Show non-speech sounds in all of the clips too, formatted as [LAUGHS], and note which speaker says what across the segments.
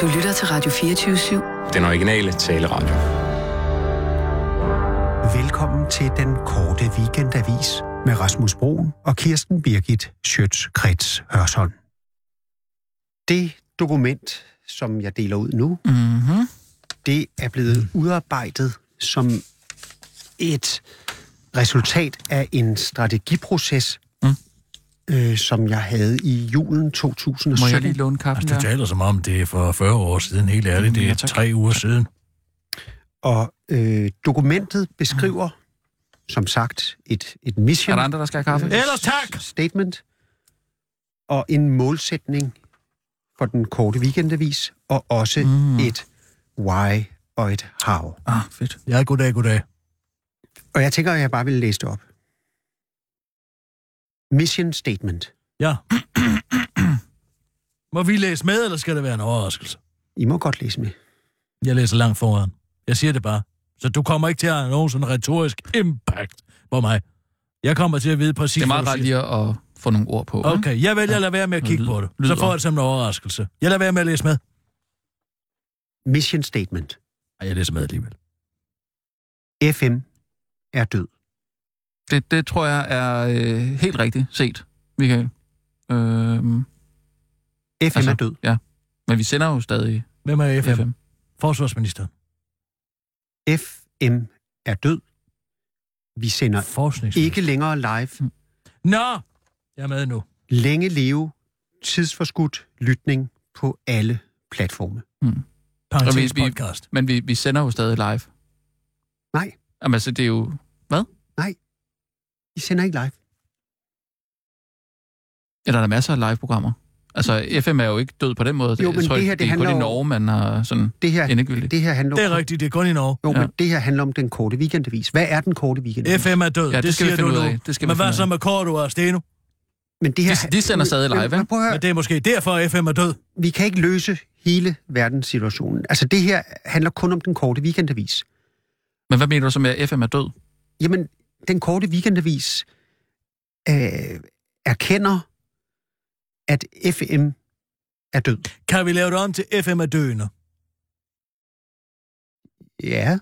Speaker 1: Du lytter til Radio 24-7.
Speaker 2: Den originale taleradio.
Speaker 3: Velkommen til den korte weekendavis med Rasmus Broen og Kirsten Birgit Schøtz-Krets Hørsholm. Det dokument, som jeg deler ud nu,
Speaker 4: Mm-hmm. Mm.
Speaker 3: det er blevet udarbejdet som et resultat af en strategiproces,
Speaker 4: Mm.
Speaker 3: øh, som jeg havde i julen
Speaker 4: Må jeg lige
Speaker 3: 2017.
Speaker 4: låne kaffen
Speaker 5: Altså, du
Speaker 4: der?
Speaker 5: taler som om, det er for 40 år siden, helt ærligt. Det
Speaker 4: Ja,
Speaker 5: er
Speaker 4: tak.
Speaker 5: tre uger siden.
Speaker 3: Og øh, dokumentet beskriver, som sagt, et, et
Speaker 4: Mm. Er
Speaker 3: mission.
Speaker 4: der andre, der skal have kaffe?
Speaker 5: Ellers tak!
Speaker 3: statement og en målsætning for den korte weekendavis, og også
Speaker 4: Mm.
Speaker 3: mm. et why og et how.
Speaker 4: Ah, fedt.
Speaker 5: Ja, goddag, goddag.
Speaker 3: Og jeg tænker, at jeg bare vil læse det op. Mission statement.
Speaker 5: Ja. [CLEARS THROAT] Må vi læse med, eller skal det være en overraskelse?
Speaker 3: I må godt læse med.
Speaker 5: Jeg læser langt foran. Jeg siger det bare. Så du kommer ikke til at have nogen sådan retorisk impact på mig. Jeg kommer til at vide præcis,
Speaker 4: Det er meget
Speaker 5: hvad
Speaker 4: rart
Speaker 5: du siger.
Speaker 4: lige at få nogle ord på. ikke?
Speaker 5: Okay, jeg vælger
Speaker 4: Ja.
Speaker 5: at lade være med at
Speaker 4: Noget
Speaker 5: kigge
Speaker 4: lyd-
Speaker 5: på det.
Speaker 4: lyd
Speaker 5: Så får
Speaker 4: op.
Speaker 5: jeg det som en overraskelse. Jeg lader være med at læse med.
Speaker 3: Mission statement.
Speaker 5: Nej, jeg læser med alligevel.
Speaker 3: FM er død.
Speaker 4: Det, det tror jeg er øh, helt rigtigt set, Michael. Øhm,
Speaker 3: FM altså, er død.
Speaker 4: Ja. Men vi sender jo stadig
Speaker 5: Hvem er
Speaker 4: FM.
Speaker 5: FM? FM. Forsvarsministeren.
Speaker 3: FM er død. Vi sender
Speaker 5: Forskningsminister.
Speaker 3: ikke længere live.
Speaker 5: Nå! Jeg er med nu.
Speaker 3: Længe leve. Tidsforskudt lytning på alle platforme.
Speaker 5: Parenthes
Speaker 4: vi- vi-
Speaker 5: podcast.
Speaker 4: Men vi, vi sender jo stadig live.
Speaker 3: Nej.
Speaker 4: Jamen altså, det er jo...
Speaker 3: I sender ikke live.
Speaker 4: Ja, der er da masser af live-programmer. Altså, FM er jo ikke død på den måde.
Speaker 3: Jo,
Speaker 4: jeg
Speaker 3: men
Speaker 4: tror,
Speaker 3: det
Speaker 4: ikke,
Speaker 3: her, det
Speaker 4: det er kun
Speaker 3: handler
Speaker 4: i
Speaker 3: jo-
Speaker 4: Norge, man har sådan
Speaker 3: Det her,
Speaker 4: endegyldigt.
Speaker 3: det her handler
Speaker 5: Det
Speaker 3: om-
Speaker 5: er rigtigt, det er kun i Norge.
Speaker 3: Jo,
Speaker 4: Ja.
Speaker 3: ja. men det her handler om den korte weekendavis. Hvad er den korte weekendavis?
Speaker 5: FM er død,
Speaker 4: Ja, det, det skal vi
Speaker 5: siger
Speaker 4: finde
Speaker 5: du
Speaker 4: ud
Speaker 5: nu.
Speaker 4: af. Det skal
Speaker 5: Men
Speaker 4: vi finde
Speaker 5: hvad
Speaker 4: ud
Speaker 5: så
Speaker 4: af.
Speaker 5: med Korto og Steno?
Speaker 3: Men det her,
Speaker 4: de- de sender stadig
Speaker 3: Men-
Speaker 4: live,
Speaker 3: men
Speaker 4: ikke?
Speaker 3: Prøv at høre,
Speaker 5: Men det er måske derfor, at FM er død.
Speaker 3: vi kan ikke løse hele verdenssituationen. Altså, det her handler kun om den korte weekendavis.
Speaker 4: Men hvad mener du så med, at FM er død?
Speaker 3: Jamen, den korte weekendavis øh, erkender, at FM er død.
Speaker 5: Kan vi lave det om til FM er døende?
Speaker 3: Ja.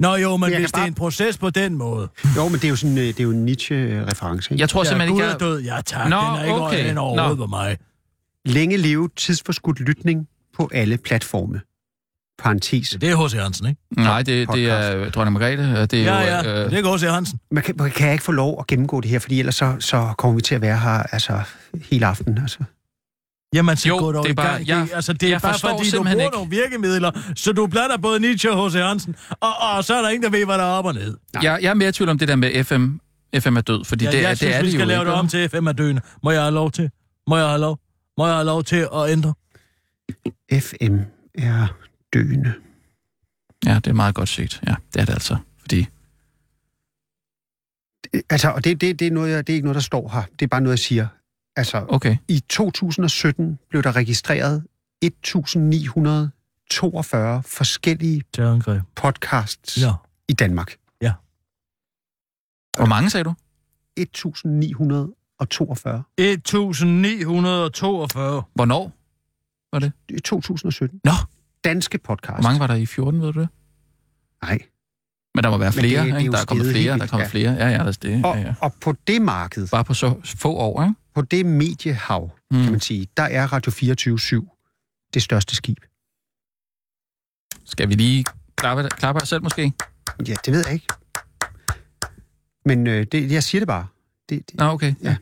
Speaker 5: Nå jo, men
Speaker 3: Jeg kan
Speaker 5: hvis det er
Speaker 3: bare-
Speaker 5: en proces på den måde.
Speaker 3: Jo, men det er jo sådan, øh, det er jo en Nietzsche-reference.
Speaker 4: Jeg tror
Speaker 5: Ja,
Speaker 4: simpelthen
Speaker 5: Gud
Speaker 4: ikke,
Speaker 5: er
Speaker 4: jeg...
Speaker 5: død. Ja, tak.
Speaker 4: Nå,
Speaker 5: den er ikke
Speaker 4: okay.
Speaker 5: okay. den er overhovedet på mig.
Speaker 3: Længe leve tidsforskudt lytning på alle platforme. Parenthes.
Speaker 5: Det er H.C. Hansen, ikke?
Speaker 4: Nej, det, det
Speaker 3: Podcast.
Speaker 4: er dronning Margrethe, og det er
Speaker 5: Ja,
Speaker 4: jo...
Speaker 5: ja.
Speaker 4: øh,
Speaker 5: Det er H.C. Hansen.
Speaker 3: Man kan, man kan jeg ikke få lov at gennemgå det her, fordi ellers så, så kommer vi til at være her altså, hele aftenen. Altså.
Speaker 5: Jamen, så
Speaker 4: Jo,
Speaker 5: går dog
Speaker 4: det er
Speaker 5: i
Speaker 4: bare-
Speaker 5: gang.
Speaker 4: jeg-
Speaker 5: det, altså, det er
Speaker 4: jeg
Speaker 5: bare
Speaker 4: forstår
Speaker 5: fordi, du
Speaker 4: simpelthen
Speaker 5: bruger
Speaker 4: ikke.
Speaker 5: nogle virkemidler, så du blander både Nietzsche og H.C. Hansen, og, og så er der ingen, der ved, hvad der er op og ned.
Speaker 4: Jeg, jeg er mere i tvivl om det der med FM. FM er død, fordi
Speaker 5: Ja,
Speaker 4: det,
Speaker 5: jeg
Speaker 4: er,
Speaker 5: synes,
Speaker 4: det er
Speaker 5: vi
Speaker 4: det
Speaker 5: skal
Speaker 4: jo
Speaker 5: lave
Speaker 4: ikke.
Speaker 5: det om til FM er døende. Må jeg have lov til? Må jeg have lov? Må jeg have lov til at ændre?
Speaker 3: FM er døende.
Speaker 4: Ja, det er meget godt set. Ja, det er det altså. Fordi
Speaker 3: Altså, og det, det, det, er noget, jeg, det er ikke noget, der står her. Det er bare noget, jeg siger. Altså,
Speaker 4: Okay.
Speaker 3: i 2017 blev der registreret 1942 forskellige
Speaker 5: Terrorangreb.
Speaker 3: podcasts
Speaker 5: Ja.
Speaker 3: ja. i Danmark.
Speaker 4: Hvor mange sagde du?
Speaker 3: 1942.
Speaker 5: 1942.
Speaker 4: Hvornår?
Speaker 3: I 2017.
Speaker 4: Nå.
Speaker 3: Danske podcasts.
Speaker 4: Hvor mange var der i 14, ved du det?
Speaker 3: Nej.
Speaker 4: Men der må være
Speaker 3: Men
Speaker 4: flere,
Speaker 3: det- det er
Speaker 4: ikke?
Speaker 3: jo
Speaker 4: Der er kommet
Speaker 3: steget
Speaker 4: flere,
Speaker 3: helt
Speaker 4: der er kommet
Speaker 3: vildt,
Speaker 4: flere. Ja, ja, altså det. Ja,
Speaker 3: Og,
Speaker 4: ja.
Speaker 3: og på det marked,
Speaker 4: Bare på så få år, ikke?
Speaker 3: på det mediehav, kan
Speaker 4: Mm.
Speaker 3: man sige, der er Radio 24-7 det største skib.
Speaker 4: Skal vi lige klappe, klappe os selv måske?
Speaker 3: Ja, det ved jeg ikke. Men øh, det, jeg siger det bare. Det, det,
Speaker 4: Nå, okay.
Speaker 3: Ja.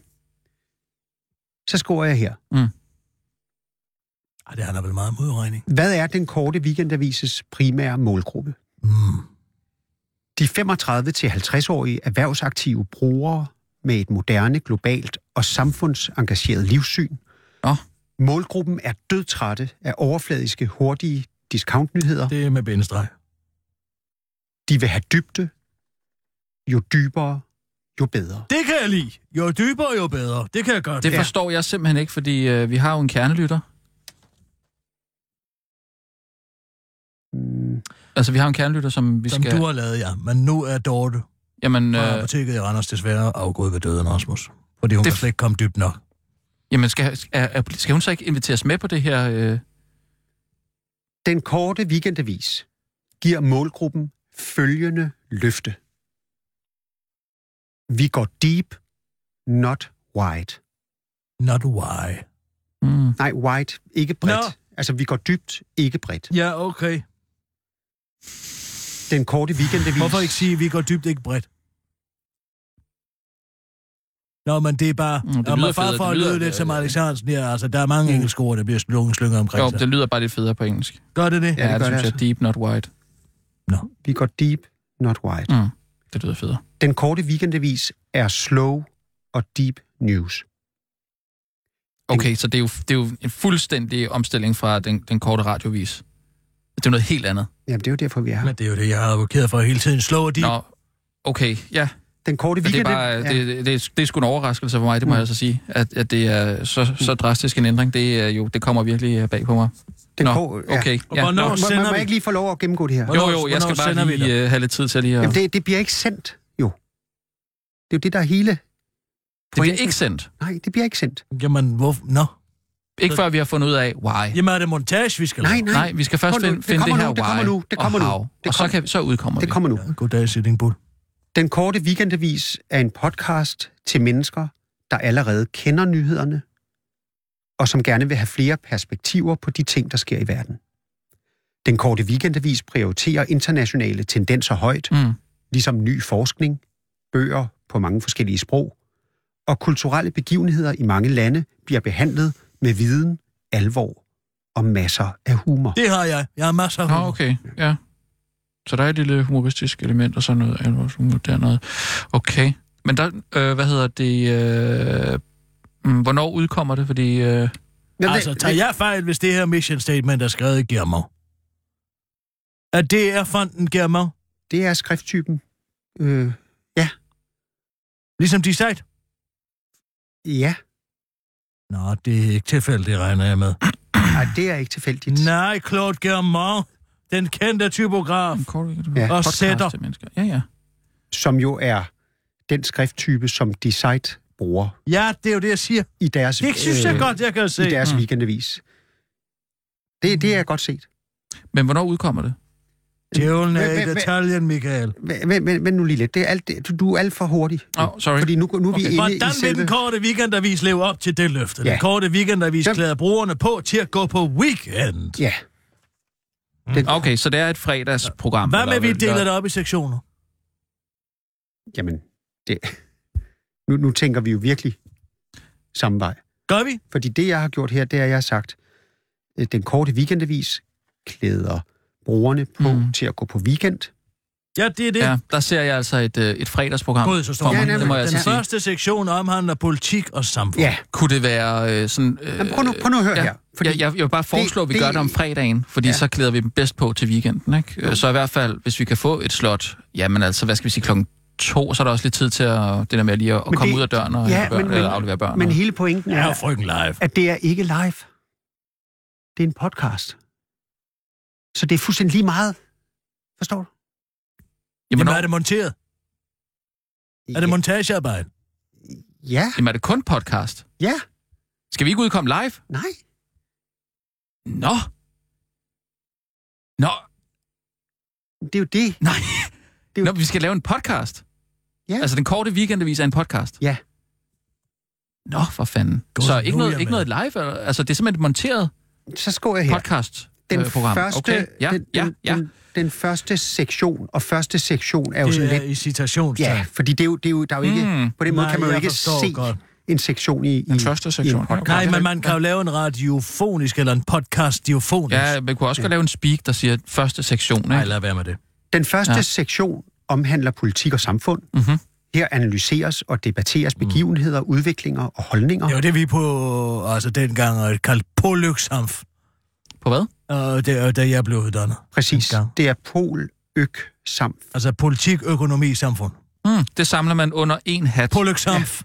Speaker 3: så skriver jeg her.
Speaker 5: Ej, det handler vel meget om udregning.
Speaker 3: Hvad er den korte weekendavises primære målgruppe?
Speaker 5: Mm.
Speaker 3: De 35-50-årige erhvervsaktive brugere med et moderne, globalt og samfundsengageret livssyn.
Speaker 4: Nå.
Speaker 3: Målgruppen er dødtrætte af overfladiske, hurtige discountnyheder.
Speaker 5: Det er med bindestreg.
Speaker 3: De vil have dybde. Jo dybere, jo bedre.
Speaker 5: Det kan jeg lide. Jo dybere, jo bedre. Det kan jeg godt.
Speaker 4: Det
Speaker 5: lide.
Speaker 4: forstår jeg simpelthen ikke, fordi øh, vi har jo en kernelytter.
Speaker 3: Mm,
Speaker 4: Altså, vi har en kernelytter, som vi
Speaker 5: Som
Speaker 4: skal...
Speaker 5: du har lavet, ja. Men nu er Dorte
Speaker 4: Jamen,
Speaker 5: fra
Speaker 4: øh,
Speaker 5: apoteket i Randers desværre afgået ved døden, Rasmus. Fordi
Speaker 4: Det-
Speaker 5: hun det... kan slet ikke komme dybt nok.
Speaker 4: jamen skal, er, er, skal hun så ikke inviteres med på det her... Øh,
Speaker 3: Den korte weekendavis giver målgruppen følgende løfte. Vi går deep, not wide.
Speaker 5: Mm. Not why.
Speaker 4: Mm.
Speaker 3: Nej, wide, ikke bredt.
Speaker 5: Nå.
Speaker 3: Altså, vi går dybt, ikke bredt.
Speaker 5: Ja, okay.
Speaker 3: Den korte weekendavis...
Speaker 5: Hvorfor ikke sige, at vi går dybt ikke bredt? Nå, men det er bare...
Speaker 4: Mm, det
Speaker 5: og
Speaker 4: lyder
Speaker 5: med far
Speaker 4: federe,
Speaker 5: for
Speaker 4: det
Speaker 5: at
Speaker 4: lyder-
Speaker 5: lyde lidt som
Speaker 4: ja, ja.
Speaker 5: Alex Hansen her, altså, der er mange
Speaker 3: Mm.
Speaker 5: engelske ord, der bliver slunget slynger omkring
Speaker 4: Jo,
Speaker 5: sig.
Speaker 4: det lyder bare lidt federe på engelsk. Ja,
Speaker 5: Gør det det?
Speaker 3: Ja, det
Speaker 4: ja det
Speaker 3: gør det
Speaker 4: synes jeg.
Speaker 3: altså.
Speaker 4: Deep, not wide.
Speaker 3: Vi går deep, not wide.
Speaker 4: Mm. Det lyder federe.
Speaker 3: Den korte weekendavis er slow og deep news.
Speaker 4: Okay, så det er, jo, det er jo en fuldstændig omstilling fra den, den korte radiovis. Det er noget helt andet.
Speaker 3: Jamen, det er jo derfor, vi er her.
Speaker 5: Men det er jo det, jeg har advokeret for hele tiden. Slå de...
Speaker 4: Nå, okay, ja.
Speaker 3: Den korte
Speaker 4: Men det er,
Speaker 3: weekend...
Speaker 4: bare,
Speaker 3: ja.
Speaker 4: det, det, det, er, det er sgu en overraskelse for mig, det
Speaker 3: Mm.
Speaker 4: må mm. jeg altså sige. At, at det er så, så drastisk en ændring, det, er jo, det kommer virkelig øh, bag på mig.
Speaker 3: den
Speaker 4: Nå,
Speaker 3: korte- ja.
Speaker 4: Okay,
Speaker 5: Og
Speaker 4: ja.
Speaker 5: hvornår-
Speaker 3: Må,
Speaker 4: nå.
Speaker 3: må,
Speaker 5: sender
Speaker 3: må
Speaker 5: vi-
Speaker 3: jeg ikke lige få lov at gennemgå det her?
Speaker 5: Hvornår-
Speaker 4: Jo, jo, jeg skal
Speaker 5: hvornår sender
Speaker 4: bare
Speaker 5: vi det?
Speaker 4: lige uh, have lidt tid til lige at...
Speaker 3: Jamen,
Speaker 4: det,
Speaker 3: det, det bliver ikke sendt, jo. Det er jo det, der er hele...
Speaker 4: det bliver ikke sendt.
Speaker 3: Nej, det bliver ikke sendt.
Speaker 5: Jamen, hvor... Nå.
Speaker 4: Ikke før vi har fundet ud af, why.
Speaker 5: Jamen, er det montage, vi skal
Speaker 3: Nej,
Speaker 5: lave?
Speaker 3: nej,
Speaker 4: Nej, vi skal først
Speaker 3: Kom nu,
Speaker 4: finde,
Speaker 3: det
Speaker 4: finde det,
Speaker 3: kommer
Speaker 4: her
Speaker 3: nu, det
Speaker 4: why
Speaker 3: kommer nu, det
Speaker 4: og
Speaker 3: kommer nu,
Speaker 4: how.
Speaker 3: det
Speaker 4: og så,
Speaker 3: kommer-
Speaker 4: kan, så udkommer
Speaker 3: det
Speaker 4: vi.
Speaker 3: kommer nu.
Speaker 5: Ja, goddag, Sitting Bull.
Speaker 3: Den korte weekendavis er en podcast til mennesker, der allerede kender nyhederne, og som gerne vil have flere perspektiver på de ting, der sker i verden. Den korte weekendavis prioriterer internationale tendenser højt,
Speaker 4: Mm.
Speaker 3: ligesom ny forskning, bøger på mange forskellige sprog, og kulturelle begivenheder i mange lande bliver behandlet med viden, alvor og masser af humor.
Speaker 5: Det har jeg. Jeg har masser af
Speaker 4: Nå,
Speaker 5: humor.
Speaker 4: okay, ja. Så der er et lille humoristisk element og sådan noget. alvorshumor Der noget. Okay. Men der, øh, hvad hedder det... Øh, mm, hvornår udkommer det? Fordi... Øh,
Speaker 3: Jamen,
Speaker 5: Altså,
Speaker 3: det-
Speaker 5: tager jeg fejl, hvis det her mission statement er skrevet i Germov? Er det er fonden Germov?
Speaker 3: Det er skrifttypen. Øh,
Speaker 5: Ligesom de sagde?
Speaker 3: ja,
Speaker 5: Nå, det er ikke tilfældet, det regner jeg med.
Speaker 3: Ej, det er ikke tilfældigt.
Speaker 5: Nej, Claude Germand, den kendte typograf.
Speaker 4: kort,
Speaker 3: Mm, Ja.
Speaker 5: Og sætter.
Speaker 4: til mennesker. Ja, ja.
Speaker 3: som jo er den skrifttype, som Decide bruger
Speaker 5: Ja, det er jo det, jeg siger.
Speaker 3: i deres,
Speaker 5: Det synes jeg
Speaker 3: øh,
Speaker 5: godt, jeg kan se.
Speaker 3: i deres
Speaker 4: Mm.
Speaker 3: weekendavis. Det, det er godt set.
Speaker 4: Men hvornår udkommer det?
Speaker 5: Djævlen er
Speaker 3: Hvem-
Speaker 5: i
Speaker 3: hvem-
Speaker 5: detaljen, Michael.
Speaker 3: Men- Men, men, men nu lige lidt. Det er alt, det- du, du er alt for hurtig.
Speaker 4: Åh, oh, sorry.
Speaker 3: Fordi nu, nu er vi
Speaker 4: Okay.
Speaker 3: inde i
Speaker 5: Hvordan vil
Speaker 3: selve...
Speaker 5: den korte weekendavis leve op til det løfte?
Speaker 3: Ja.
Speaker 5: Den korte weekendavis
Speaker 3: Den-
Speaker 5: klæder brugerne på til at gå på weekend.
Speaker 3: Ja.
Speaker 4: Okay, så det er et fredagsprogram.
Speaker 5: Hvad
Speaker 4: eller
Speaker 5: med, vi deler
Speaker 4: eller-
Speaker 5: det op i sektioner?
Speaker 3: Jamen, det... [LAUGHS] Nu, nu tænker vi jo virkelig samme vej.
Speaker 5: Gør vi?
Speaker 3: Fordi det, jeg har gjort her, det er, at jeg har sagt, øh, den korte weekendavis klæder brugerne på
Speaker 4: Mm.
Speaker 3: mm. til at gå på weekend.
Speaker 5: Ja, det er det.
Speaker 4: Ja, der ser jeg altså et, øh, et fredagsprogram.
Speaker 5: God, så står
Speaker 4: for
Speaker 5: man.
Speaker 4: mig.
Speaker 3: Ja,
Speaker 4: det må jeg
Speaker 5: Den
Speaker 4: altså sige.
Speaker 5: første sektion omhandler politik og samfund.
Speaker 3: Ja,
Speaker 4: Kunne det være øh, sådan... Øh,
Speaker 3: Jamen, prøv, nu, prøv nu at høre
Speaker 4: ja.
Speaker 3: her.
Speaker 4: Fordi jeg, jeg, jeg vil bare foreslå, at vi
Speaker 3: det-
Speaker 4: gør det om fredagen, fordi
Speaker 3: Ja.
Speaker 4: ja. så klæder vi dem bedst på til weekenden. Ikke? Øh, Så i hvert fald, hvis vi kan få et slot, jamen altså, hvad skal vi sige, klokken to, så er der også lidt tid til at, det der med lige at, at
Speaker 3: Men
Speaker 4: komme
Speaker 3: det-
Speaker 4: ud af døren og
Speaker 3: Ja,
Speaker 4: hente børn,
Speaker 3: men-
Speaker 4: eller
Speaker 3: men-
Speaker 4: aflevere børn.
Speaker 3: Men
Speaker 4: og-
Speaker 3: hele pointen
Speaker 5: Ja,
Speaker 3: er,
Speaker 5: frygten live.
Speaker 3: at det er ikke live. Det er en podcast. Så det er fuldstændig lige meget. Forstår du?
Speaker 4: jamen,
Speaker 5: Jamen, er
Speaker 4: er det,
Speaker 5: det monteret? Er det montagearbejde?
Speaker 3: Ja.
Speaker 4: jamen, er det kun podcast?
Speaker 3: Ja.
Speaker 4: Skal vi ikke udkomme live?
Speaker 3: Nej.
Speaker 4: Nå! Nå,
Speaker 3: Det er jo det.
Speaker 4: nej.
Speaker 3: er jo-
Speaker 4: Nå, vi skal lave en podcast.
Speaker 3: Ja.
Speaker 4: Altså, den korte weekendavis er en podcast.
Speaker 3: Ja.
Speaker 4: Nå, for fanden.
Speaker 5: Godt,
Speaker 4: så
Speaker 5: nu
Speaker 4: ikke
Speaker 5: er
Speaker 4: noget,
Speaker 5: jeg
Speaker 4: ikke
Speaker 5: med.
Speaker 4: noget live? eller- Altså, det er simpelthen monteret?
Speaker 3: Så skår jeg her.
Speaker 4: podcast
Speaker 3: Den
Speaker 4: øh, program.
Speaker 3: første,
Speaker 4: okay. Ja,
Speaker 3: den,
Speaker 4: ja,
Speaker 3: den,
Speaker 4: ja.
Speaker 3: Den, den første sektion, og første sektion er jo sådan
Speaker 5: Det er
Speaker 3: lidt...
Speaker 5: i citationstegn.
Speaker 3: Ja, fordi det er jo, det er jo, der er jo ikke...
Speaker 4: Mm.
Speaker 3: På den måde
Speaker 5: Nej,
Speaker 3: kan man jo
Speaker 5: jeg
Speaker 3: ikke
Speaker 5: forstår
Speaker 3: se
Speaker 5: godt.
Speaker 3: en sektion i, i,
Speaker 4: Den første
Speaker 3: i
Speaker 4: sektion.
Speaker 3: en podcast.
Speaker 5: Nej, men man kan jo lave en radiofonisk eller en podcast diofonisk.
Speaker 4: Ja, man kunne også godt lave en speak, der siger første sektion.
Speaker 5: Nej,
Speaker 4: Ikke?
Speaker 5: lad være med det.
Speaker 3: Den første
Speaker 4: Ja.
Speaker 3: ja. sektion omhandler politik og samfund.
Speaker 4: Mhm.
Speaker 3: Her analyseres og debatteres begivenheder, udviklinger og holdninger.
Speaker 5: Det var det, vi på, altså dengang, øh, kaldte pålyksamf,
Speaker 4: På hvad?
Speaker 5: og det er da jeg blev uddannet.
Speaker 3: [LAUGHS] Præcis.
Speaker 5: Dengang.
Speaker 3: Det er pol, øk, samt.
Speaker 5: Altså politik, økonomi, samfund.
Speaker 4: Mm, det samler man under en hat,
Speaker 5: Pålyksamf.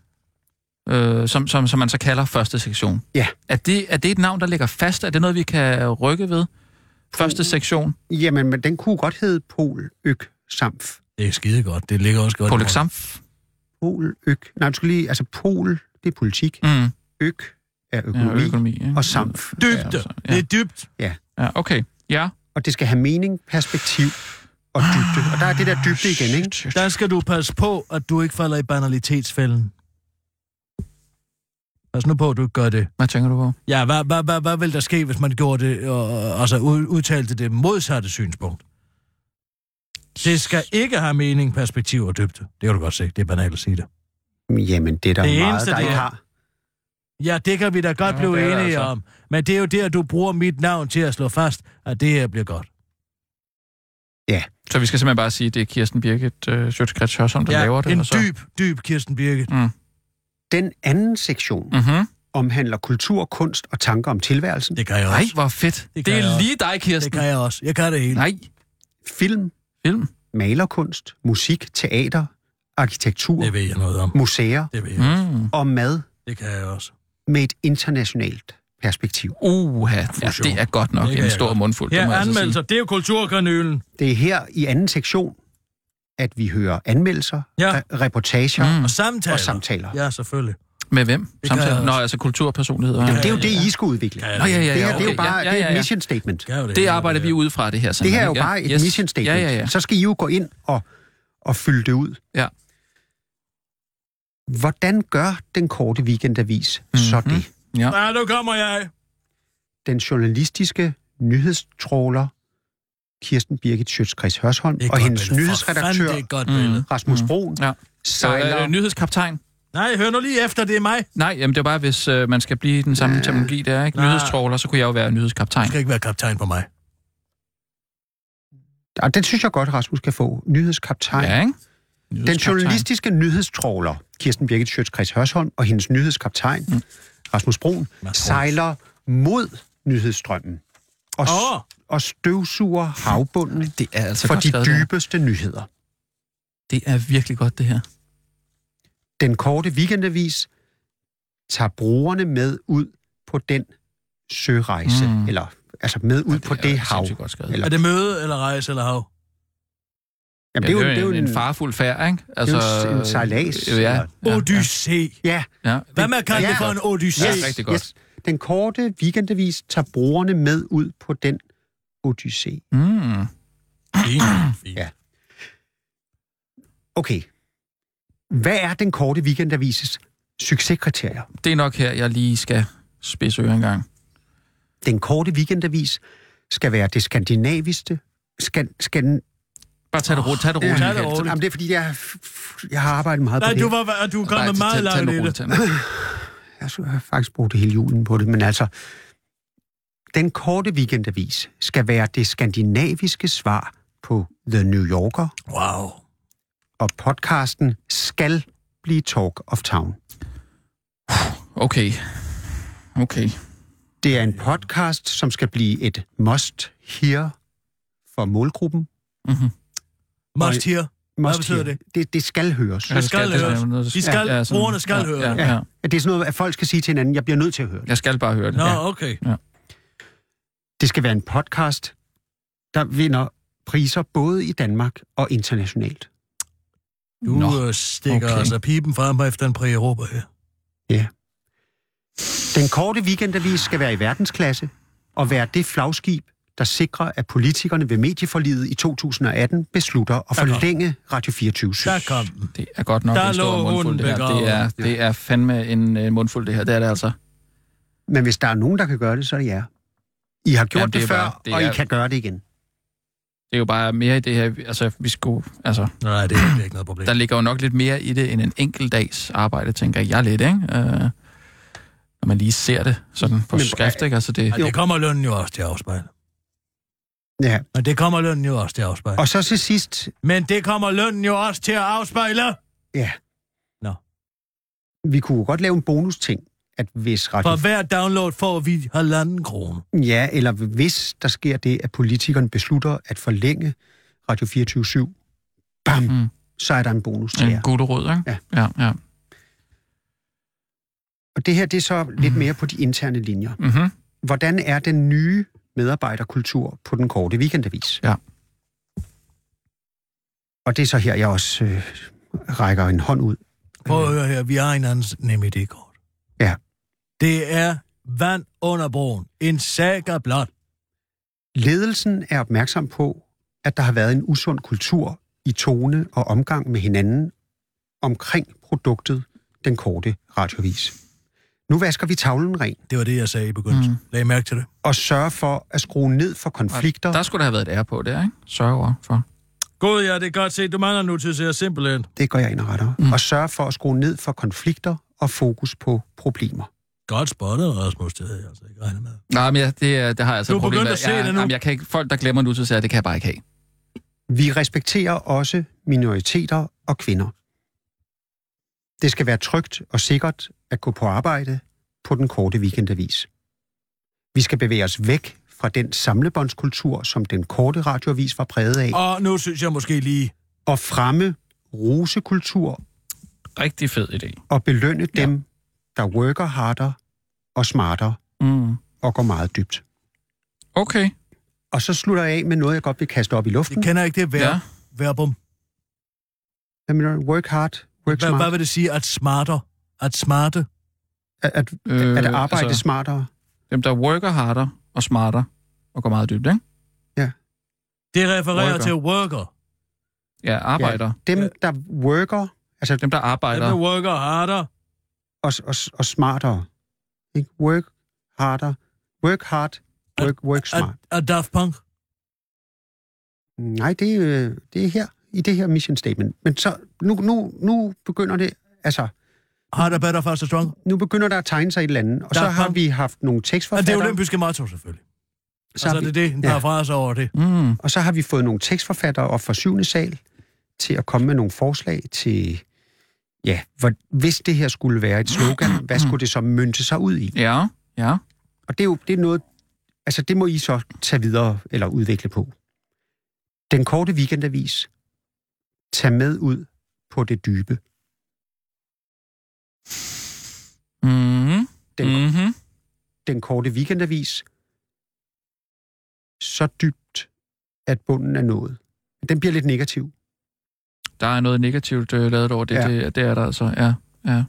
Speaker 4: øh, som, som, som man så kalder første sektion.
Speaker 3: Ja.
Speaker 4: Er det, er det et navn, der ligger fast? Er det noget, vi kan rykke ved? Første sektion.
Speaker 3: Jamen, men den kunne godt hedde pol, øk, samt.
Speaker 5: Det er skide godt. Det ligger også godt. i
Speaker 4: På
Speaker 5: munden.
Speaker 4: Luxamf.
Speaker 3: Pol, øk. Nej, du skal lige... Altså, pol, det er politik.
Speaker 4: Mm,
Speaker 3: Øk er
Speaker 4: ja,
Speaker 3: økonomi.
Speaker 4: økonomi ikke?
Speaker 3: og samf.
Speaker 4: Ja,
Speaker 5: Dybde.
Speaker 4: så-
Speaker 5: Det
Speaker 4: Ja,
Speaker 5: er dybt.
Speaker 4: ja, okay. Ja.
Speaker 3: og det skal have mening, perspektiv og dybde. Og der er det der dybde igen, ikke?
Speaker 5: Der skal du passe på, at du ikke falder i banalitetsfælden. Pas nu på, at du ikke gør det.
Speaker 4: Hvad tænker du på?
Speaker 5: Ja, hvad, hvad, hvad, hvad ville der ske, hvis man gjorde det, og, og- altså ud, udtalte det modsatte synspunkt? Det skal ikke have mening, perspektiv og dybde. Det kan du godt se. Det er banalt at sige det.
Speaker 3: Jamen, det er der
Speaker 5: Det
Speaker 3: det meget,
Speaker 5: eneste,
Speaker 3: der
Speaker 5: det
Speaker 3: ikke
Speaker 5: er-
Speaker 3: har.
Speaker 5: Ja, det kan vi da godt
Speaker 4: Ja,
Speaker 5: ja, blive
Speaker 4: det er det
Speaker 5: enige altså.
Speaker 4: altså.
Speaker 5: om. Men det er jo der, du bruger mit navn til at slå fast, at det her bliver godt.
Speaker 4: Så vi skal simpelthen bare sige, at det er Kirsten Birgit øh, Sjøtskrets Hørsholm, der
Speaker 5: ja,
Speaker 4: laver det.
Speaker 5: en
Speaker 4: og så... Mm.
Speaker 5: dyb, dyb Kirsten Birgit.
Speaker 3: Den anden sektion
Speaker 4: Mm-hmm.
Speaker 3: omhandler kultur, kunst og tanker om tilværelsen,
Speaker 5: Det kan jeg også.
Speaker 4: Nej, hvor fedt.
Speaker 5: Det
Speaker 4: Det,
Speaker 5: kan
Speaker 4: det
Speaker 5: jeg
Speaker 4: er
Speaker 5: også.
Speaker 4: lige dig,
Speaker 5: Det
Speaker 4: Kirsten.
Speaker 5: kan jeg også. Jeg kan det hele.
Speaker 4: Nej,
Speaker 3: film,
Speaker 4: film.
Speaker 3: malerkunst, musik, teater, arkitektur,
Speaker 5: Det ved jeg noget om.
Speaker 3: museer
Speaker 5: Det ved jeg. Mm.
Speaker 4: Mm.
Speaker 3: og mad
Speaker 5: Det kan jeg også.
Speaker 3: med et internationalt perspektiv.
Speaker 4: Uha, ja,
Speaker 5: Fusion.
Speaker 4: det er godt nok
Speaker 5: Det kan
Speaker 4: en
Speaker 5: jeg
Speaker 4: stor
Speaker 5: godt.
Speaker 4: mundfuld, det må
Speaker 5: Her
Speaker 4: jeg altså sige. Mm.
Speaker 5: anmeldelser. Det er jo kulturkanylen.
Speaker 3: Det er her i anden sektion, at vi hører anmeldelser,
Speaker 5: Ja.
Speaker 3: re- reportager
Speaker 4: Mm.
Speaker 3: mm.
Speaker 5: Og samtaler.
Speaker 3: og samtaler. Ja.
Speaker 5: Ja, selvfølgelig.
Speaker 4: Med hvem?
Speaker 5: jeg
Speaker 4: Samtidig?
Speaker 5: også.
Speaker 4: Nå, altså kulturpersonligheder.
Speaker 3: Jamen, det er jo det, I skal udvikle.
Speaker 5: Kan jeg
Speaker 4: Nå, ja, ja, ja.
Speaker 3: Det her
Speaker 4: okay.
Speaker 3: det er jo bare
Speaker 4: ja,
Speaker 3: det
Speaker 4: ja,
Speaker 3: er et
Speaker 4: ja.
Speaker 3: mission statement.
Speaker 5: Kan jo
Speaker 4: Det
Speaker 5: hele,
Speaker 4: arbejder
Speaker 5: der.
Speaker 4: vi ud fra,
Speaker 3: Det
Speaker 4: det her.
Speaker 3: her er
Speaker 4: simpelthen,
Speaker 3: jo
Speaker 4: ikke?
Speaker 3: bare et
Speaker 4: Yes.
Speaker 3: mission statement.
Speaker 4: Ja, ja, ja.
Speaker 3: Så skal I jo gå ind og, og fylde det ud.
Speaker 4: Ja.
Speaker 3: Hvordan gør den korte weekendavis mm-hmm. så
Speaker 4: Mhm.
Speaker 3: det?
Speaker 4: ja.
Speaker 5: Nej, nu kommer jeg.
Speaker 3: Den journalistiske nyhedstråler Kirsten Birgit Schøtz-Krets Hørsholm og hendes nyhedsredaktør
Speaker 5: Det er et godt
Speaker 4: Mm.
Speaker 5: billede.
Speaker 3: Rasmus
Speaker 4: Mm.
Speaker 3: Broen
Speaker 4: Ja. Så,
Speaker 3: sejler...
Speaker 4: øh, nyhedskaptajn?
Speaker 5: Nej, hør nu lige efter, det er mig.
Speaker 4: Nej, jamen det er bare, hvis øh, man skal blive i den samme
Speaker 3: Ja.
Speaker 4: terminologi, der er ikke?
Speaker 5: Nej.
Speaker 4: Nyhedstråler, så kunne jeg jo være
Speaker 5: Du
Speaker 4: nyhedskaptajn.
Speaker 5: skal ikke være kaptajn på mig.
Speaker 3: Og den synes jeg godt, Rasmus kan få. Nyhedskaptajn.
Speaker 4: Ja, ikke?
Speaker 3: Den
Speaker 4: Nyhedskaptajn.
Speaker 3: journalistiske nyhedstråler, Kirsten Birgit Sjøtskreds Hørsholm og hendes nyhedskaptajn, mm. Rasmus Broen,
Speaker 5: Mads Broen.
Speaker 3: sejler mod nyhedsstrømmen og,
Speaker 5: Åh,
Speaker 3: oh. og støvsuger havbunden
Speaker 4: Det er altså
Speaker 3: for
Speaker 4: godt
Speaker 3: de
Speaker 4: skrevet, det her.
Speaker 3: dybeste nyheder.
Speaker 4: Det er virkelig godt, det her.
Speaker 3: Den korte weekendavis tager brugerne med ud på den sørejse,
Speaker 4: Mm.
Speaker 3: mm. eller altså med ud på
Speaker 4: er
Speaker 3: det, det
Speaker 4: sindssygt
Speaker 3: hav.
Speaker 4: Godt skrevet.
Speaker 3: Eller,
Speaker 5: er det møde eller rejse eller hav?
Speaker 3: jamen,
Speaker 4: Ja,
Speaker 3: det er jo, det er jo
Speaker 4: en,
Speaker 3: en,
Speaker 4: en farfuld færd, ikke? Altså,
Speaker 3: jo en sejlads,
Speaker 4: Ja, ja,
Speaker 3: eller-
Speaker 5: Odyssé.
Speaker 3: Ja,
Speaker 4: ja.
Speaker 5: Hvad med at kalde
Speaker 3: Ja.
Speaker 5: det for en
Speaker 4: Ja,
Speaker 5: odyssé?
Speaker 4: det er rigtig godt.
Speaker 3: Yes. Den korte weekendavis tager brugerne med ud på den odyssé.
Speaker 4: Mm.
Speaker 5: Fint, fint.
Speaker 3: Ja. Okay. Hvad er den korte weekendavises succeskriterier?
Speaker 4: Det er nok her, jeg lige skal spidse ører en gang.
Speaker 3: Den korte weekendavis skal være det skandinaviske. Skan, skan,
Speaker 4: Bare tag det roligt, tag det
Speaker 3: Ja,
Speaker 4: roligt.
Speaker 5: tag det
Speaker 4: Michael.
Speaker 5: roligt.
Speaker 3: jamen, det er fordi, jeg, jeg har arbejdet meget
Speaker 5: Nej,
Speaker 3: på det.
Speaker 5: du, var, du er kommet
Speaker 4: Bare tag-
Speaker 5: meget
Speaker 4: tag- tag
Speaker 5: langt
Speaker 4: nu
Speaker 5: i
Speaker 4: roligt, tag
Speaker 5: det.
Speaker 4: nu roligt.
Speaker 3: Jeg skulle have faktisk brugt hele julen på det, men altså... Den korte weekendavis skal være det skandinaviske svar på The New Yorker,
Speaker 5: Wow.
Speaker 3: og podcasten skal blive Talk of Town.
Speaker 4: Okay. Okay.
Speaker 3: Det er en podcast, som skal blive et must here for målgruppen.
Speaker 4: Mm-hmm.
Speaker 5: Must here.
Speaker 3: Must
Speaker 5: betyder
Speaker 3: hear.
Speaker 5: det?
Speaker 3: det? Det skal høres.
Speaker 5: Ja. skal høres. De skal- brugerne skal
Speaker 4: ja,
Speaker 5: høre
Speaker 4: Ja,
Speaker 5: det.
Speaker 4: ja, ja.
Speaker 3: At det er sådan noget, at folk skal sige til hinanden, jeg bliver nødt til at høre det.
Speaker 4: Jeg skal bare høre det.
Speaker 5: Nå,
Speaker 4: Ja.
Speaker 5: okay.
Speaker 3: Det skal være en podcast, der vinder priser både i Danmark og internationalt.
Speaker 5: Du
Speaker 4: Nå,
Speaker 5: øh, stikker
Speaker 4: okay.
Speaker 5: altså pipen frem efter en præ Europa her.
Speaker 3: Den korte weekendavis skal være i verdensklasse og være det flagskib, der sikrer, at politikerne ved medieforliget i 2018 beslutter at
Speaker 5: Der kom.
Speaker 3: forlænge Radio 24
Speaker 5: Der kom den.
Speaker 4: Det er godt nok
Speaker 5: Der
Speaker 4: en
Speaker 5: lå
Speaker 4: stor mundfuld,
Speaker 5: hunden
Speaker 4: det her. Det er,
Speaker 3: begravet.
Speaker 4: det er fandme en øh, mundfuld, det her. Det er det altså.
Speaker 3: Men hvis der er nogen, der kan gøre det, så er det jer. I har gjort
Speaker 4: Jamen,
Speaker 3: Jamen,
Speaker 4: det
Speaker 3: det,
Speaker 4: er
Speaker 3: det før,
Speaker 4: bare- det
Speaker 3: det og I
Speaker 4: er-
Speaker 3: kan gøre det igen.
Speaker 4: Det er jo bare mere i det her, vi- altså vi skulle, altså,
Speaker 5: Nej, det er ikke noget problem.
Speaker 4: der ligger jo nok lidt mere i det, end en enkelt dags arbejde, tænker jeg lidt, ikke? Øh, når man lige ser det sådan på
Speaker 3: Men-
Speaker 4: skrift, ikke? Altså det,
Speaker 5: Og det kommer lønnen jo også til at afspejle.
Speaker 3: Ja.
Speaker 5: Og det kommer lønnen jo også til at afspejle.
Speaker 3: Og så til sidst,
Speaker 5: Men det kommer lønnen jo også til at afspejle.
Speaker 3: ja.
Speaker 5: Nå.
Speaker 3: Vi kunne jo godt lave en bonusting, at hvis Radio...
Speaker 5: For hver download får vi halvanden krone.
Speaker 3: Ja, eller hvis der sker det, at politikerne beslutter at forlænge Radio 24 bam,
Speaker 4: Mm.
Speaker 3: mm. så er der en bonus til
Speaker 4: en
Speaker 3: jer.
Speaker 4: god råd, ikke?
Speaker 3: Ja.
Speaker 4: ja, ja.
Speaker 3: Og det her, det er så lidt mere på de interne linjer.
Speaker 4: Mm-hmm.
Speaker 3: Hvordan er den nye medarbejderkultur på den korte weekendavis?
Speaker 4: Ja.
Speaker 3: Og det er så her, jeg også øh, rækker en hånd ud. Øh,
Speaker 5: Prøv at høre her, vi har en anden nem idékort.
Speaker 3: Ja.
Speaker 5: Det er vand under broen. En saga blot.
Speaker 3: Ledelsen er opmærksom på, at der har været en usund kultur i tone og omgang med hinanden omkring produktet Den Korte Radiovis. Nu vasker vi tavlen ren
Speaker 5: Det var det, jeg sagde i begyndelsen. Mm. Lad I mærke til det.
Speaker 3: og sørger for at skrue ned for konflikter.
Speaker 4: Der skulle der have været et R på der, ikke? Sørger for.
Speaker 5: God, ja, det er godt set. Du mangler nu til at simpelthen.
Speaker 3: Det går jeg ind og retter. Mm. Og sørger for at skrue ned for konflikter og fokus på problemer.
Speaker 5: Godt spottet, Rasmus. Det havde jeg altså ikke regnet med.
Speaker 4: Nej, men jeg, det, er- det har jeg altså
Speaker 5: Du
Speaker 4: et
Speaker 5: er
Speaker 4: problem
Speaker 5: begyndt
Speaker 4: med.
Speaker 5: at se
Speaker 4: jeg,
Speaker 5: det nu.
Speaker 4: Jamen, jeg kan ikke, folk, der glemmer nu, så siger jeg, det kan jeg bare ikke have.
Speaker 3: Vi respekterer også minoriteter og kvinder. Det skal være trygt og sikkert at gå på arbejde på den korte weekendavis. Vi skal bevæge os væk fra den samlebåndskultur, som den korte radioavis var præget af,
Speaker 5: Og nu synes jeg måske lige...
Speaker 3: og fremme rosekultur
Speaker 4: Rigtig fed idé.
Speaker 3: og belønne dem, der worker harder og smartere
Speaker 4: Mm.
Speaker 3: og går meget dybt.
Speaker 4: Okay.
Speaker 3: Og så slutter jeg af med noget, jeg godt vil kaste op i luften.
Speaker 5: Jeg kender ikke det ver-
Speaker 4: Ja.
Speaker 5: ja. verbum.
Speaker 3: Hvad mener du? Work hard, work
Speaker 5: Hvad, hvad
Speaker 3: smart.
Speaker 5: vil det sige? At smarter? At smarte?
Speaker 3: At, at, at
Speaker 5: Øh,
Speaker 3: arbejde altså... smartere.
Speaker 4: Dem, der worker harder og smarter og går meget dybt, ikke?
Speaker 5: Det refererer
Speaker 4: Worker.
Speaker 5: worker. til worker.
Speaker 4: Ja, arbejder. Ja.
Speaker 3: Dem, der worker, altså
Speaker 4: Dem, der
Speaker 5: Dem,
Speaker 4: arbejder.
Speaker 5: der worker harder.
Speaker 3: og, og, og smartere. Ikke? Work harder. Work hard, work, work
Speaker 5: At,
Speaker 3: smart.
Speaker 5: at Daft Punk.
Speaker 3: Nej, det, er, øh, det er her, i det her mission statement. Men så, nu, nu, nu begynder det, altså,
Speaker 5: Harder, better, faster, stronger.
Speaker 3: nu begynder der at tegne sig et eller andet, og så
Speaker 5: Der er
Speaker 3: har
Speaker 5: kom-
Speaker 3: vi haft nogle
Speaker 5: Og det
Speaker 3: tekstforfattere,
Speaker 5: er olympiske motto, selvfølgelig.
Speaker 3: så
Speaker 5: altså,
Speaker 3: har vi,
Speaker 5: det er det. En
Speaker 3: ja.
Speaker 5: paraphrase over det.
Speaker 4: Mm.
Speaker 3: og så har vi fået nogle tekstforfattere op fra syvende sal til at komme med nogle forslag til, ja, hvor, hvis det her skulle være et slogan, hvad skulle det så mynte sig ud i?
Speaker 4: Ja, ja.
Speaker 3: Og det er jo det er noget, altså det må I så tage videre eller udvikle på. Den korte weekendavis. Tag med ud på det dybe.
Speaker 4: Mm.
Speaker 3: Den, mm.
Speaker 4: Mm-hmm.
Speaker 3: den korte weekendavis. Så dybt, at bunden er nået. Den bliver lidt negativ.
Speaker 4: Der er noget negativt øh, lavet over det.
Speaker 3: Ja.
Speaker 4: Ja. det. Det er der altså, ja.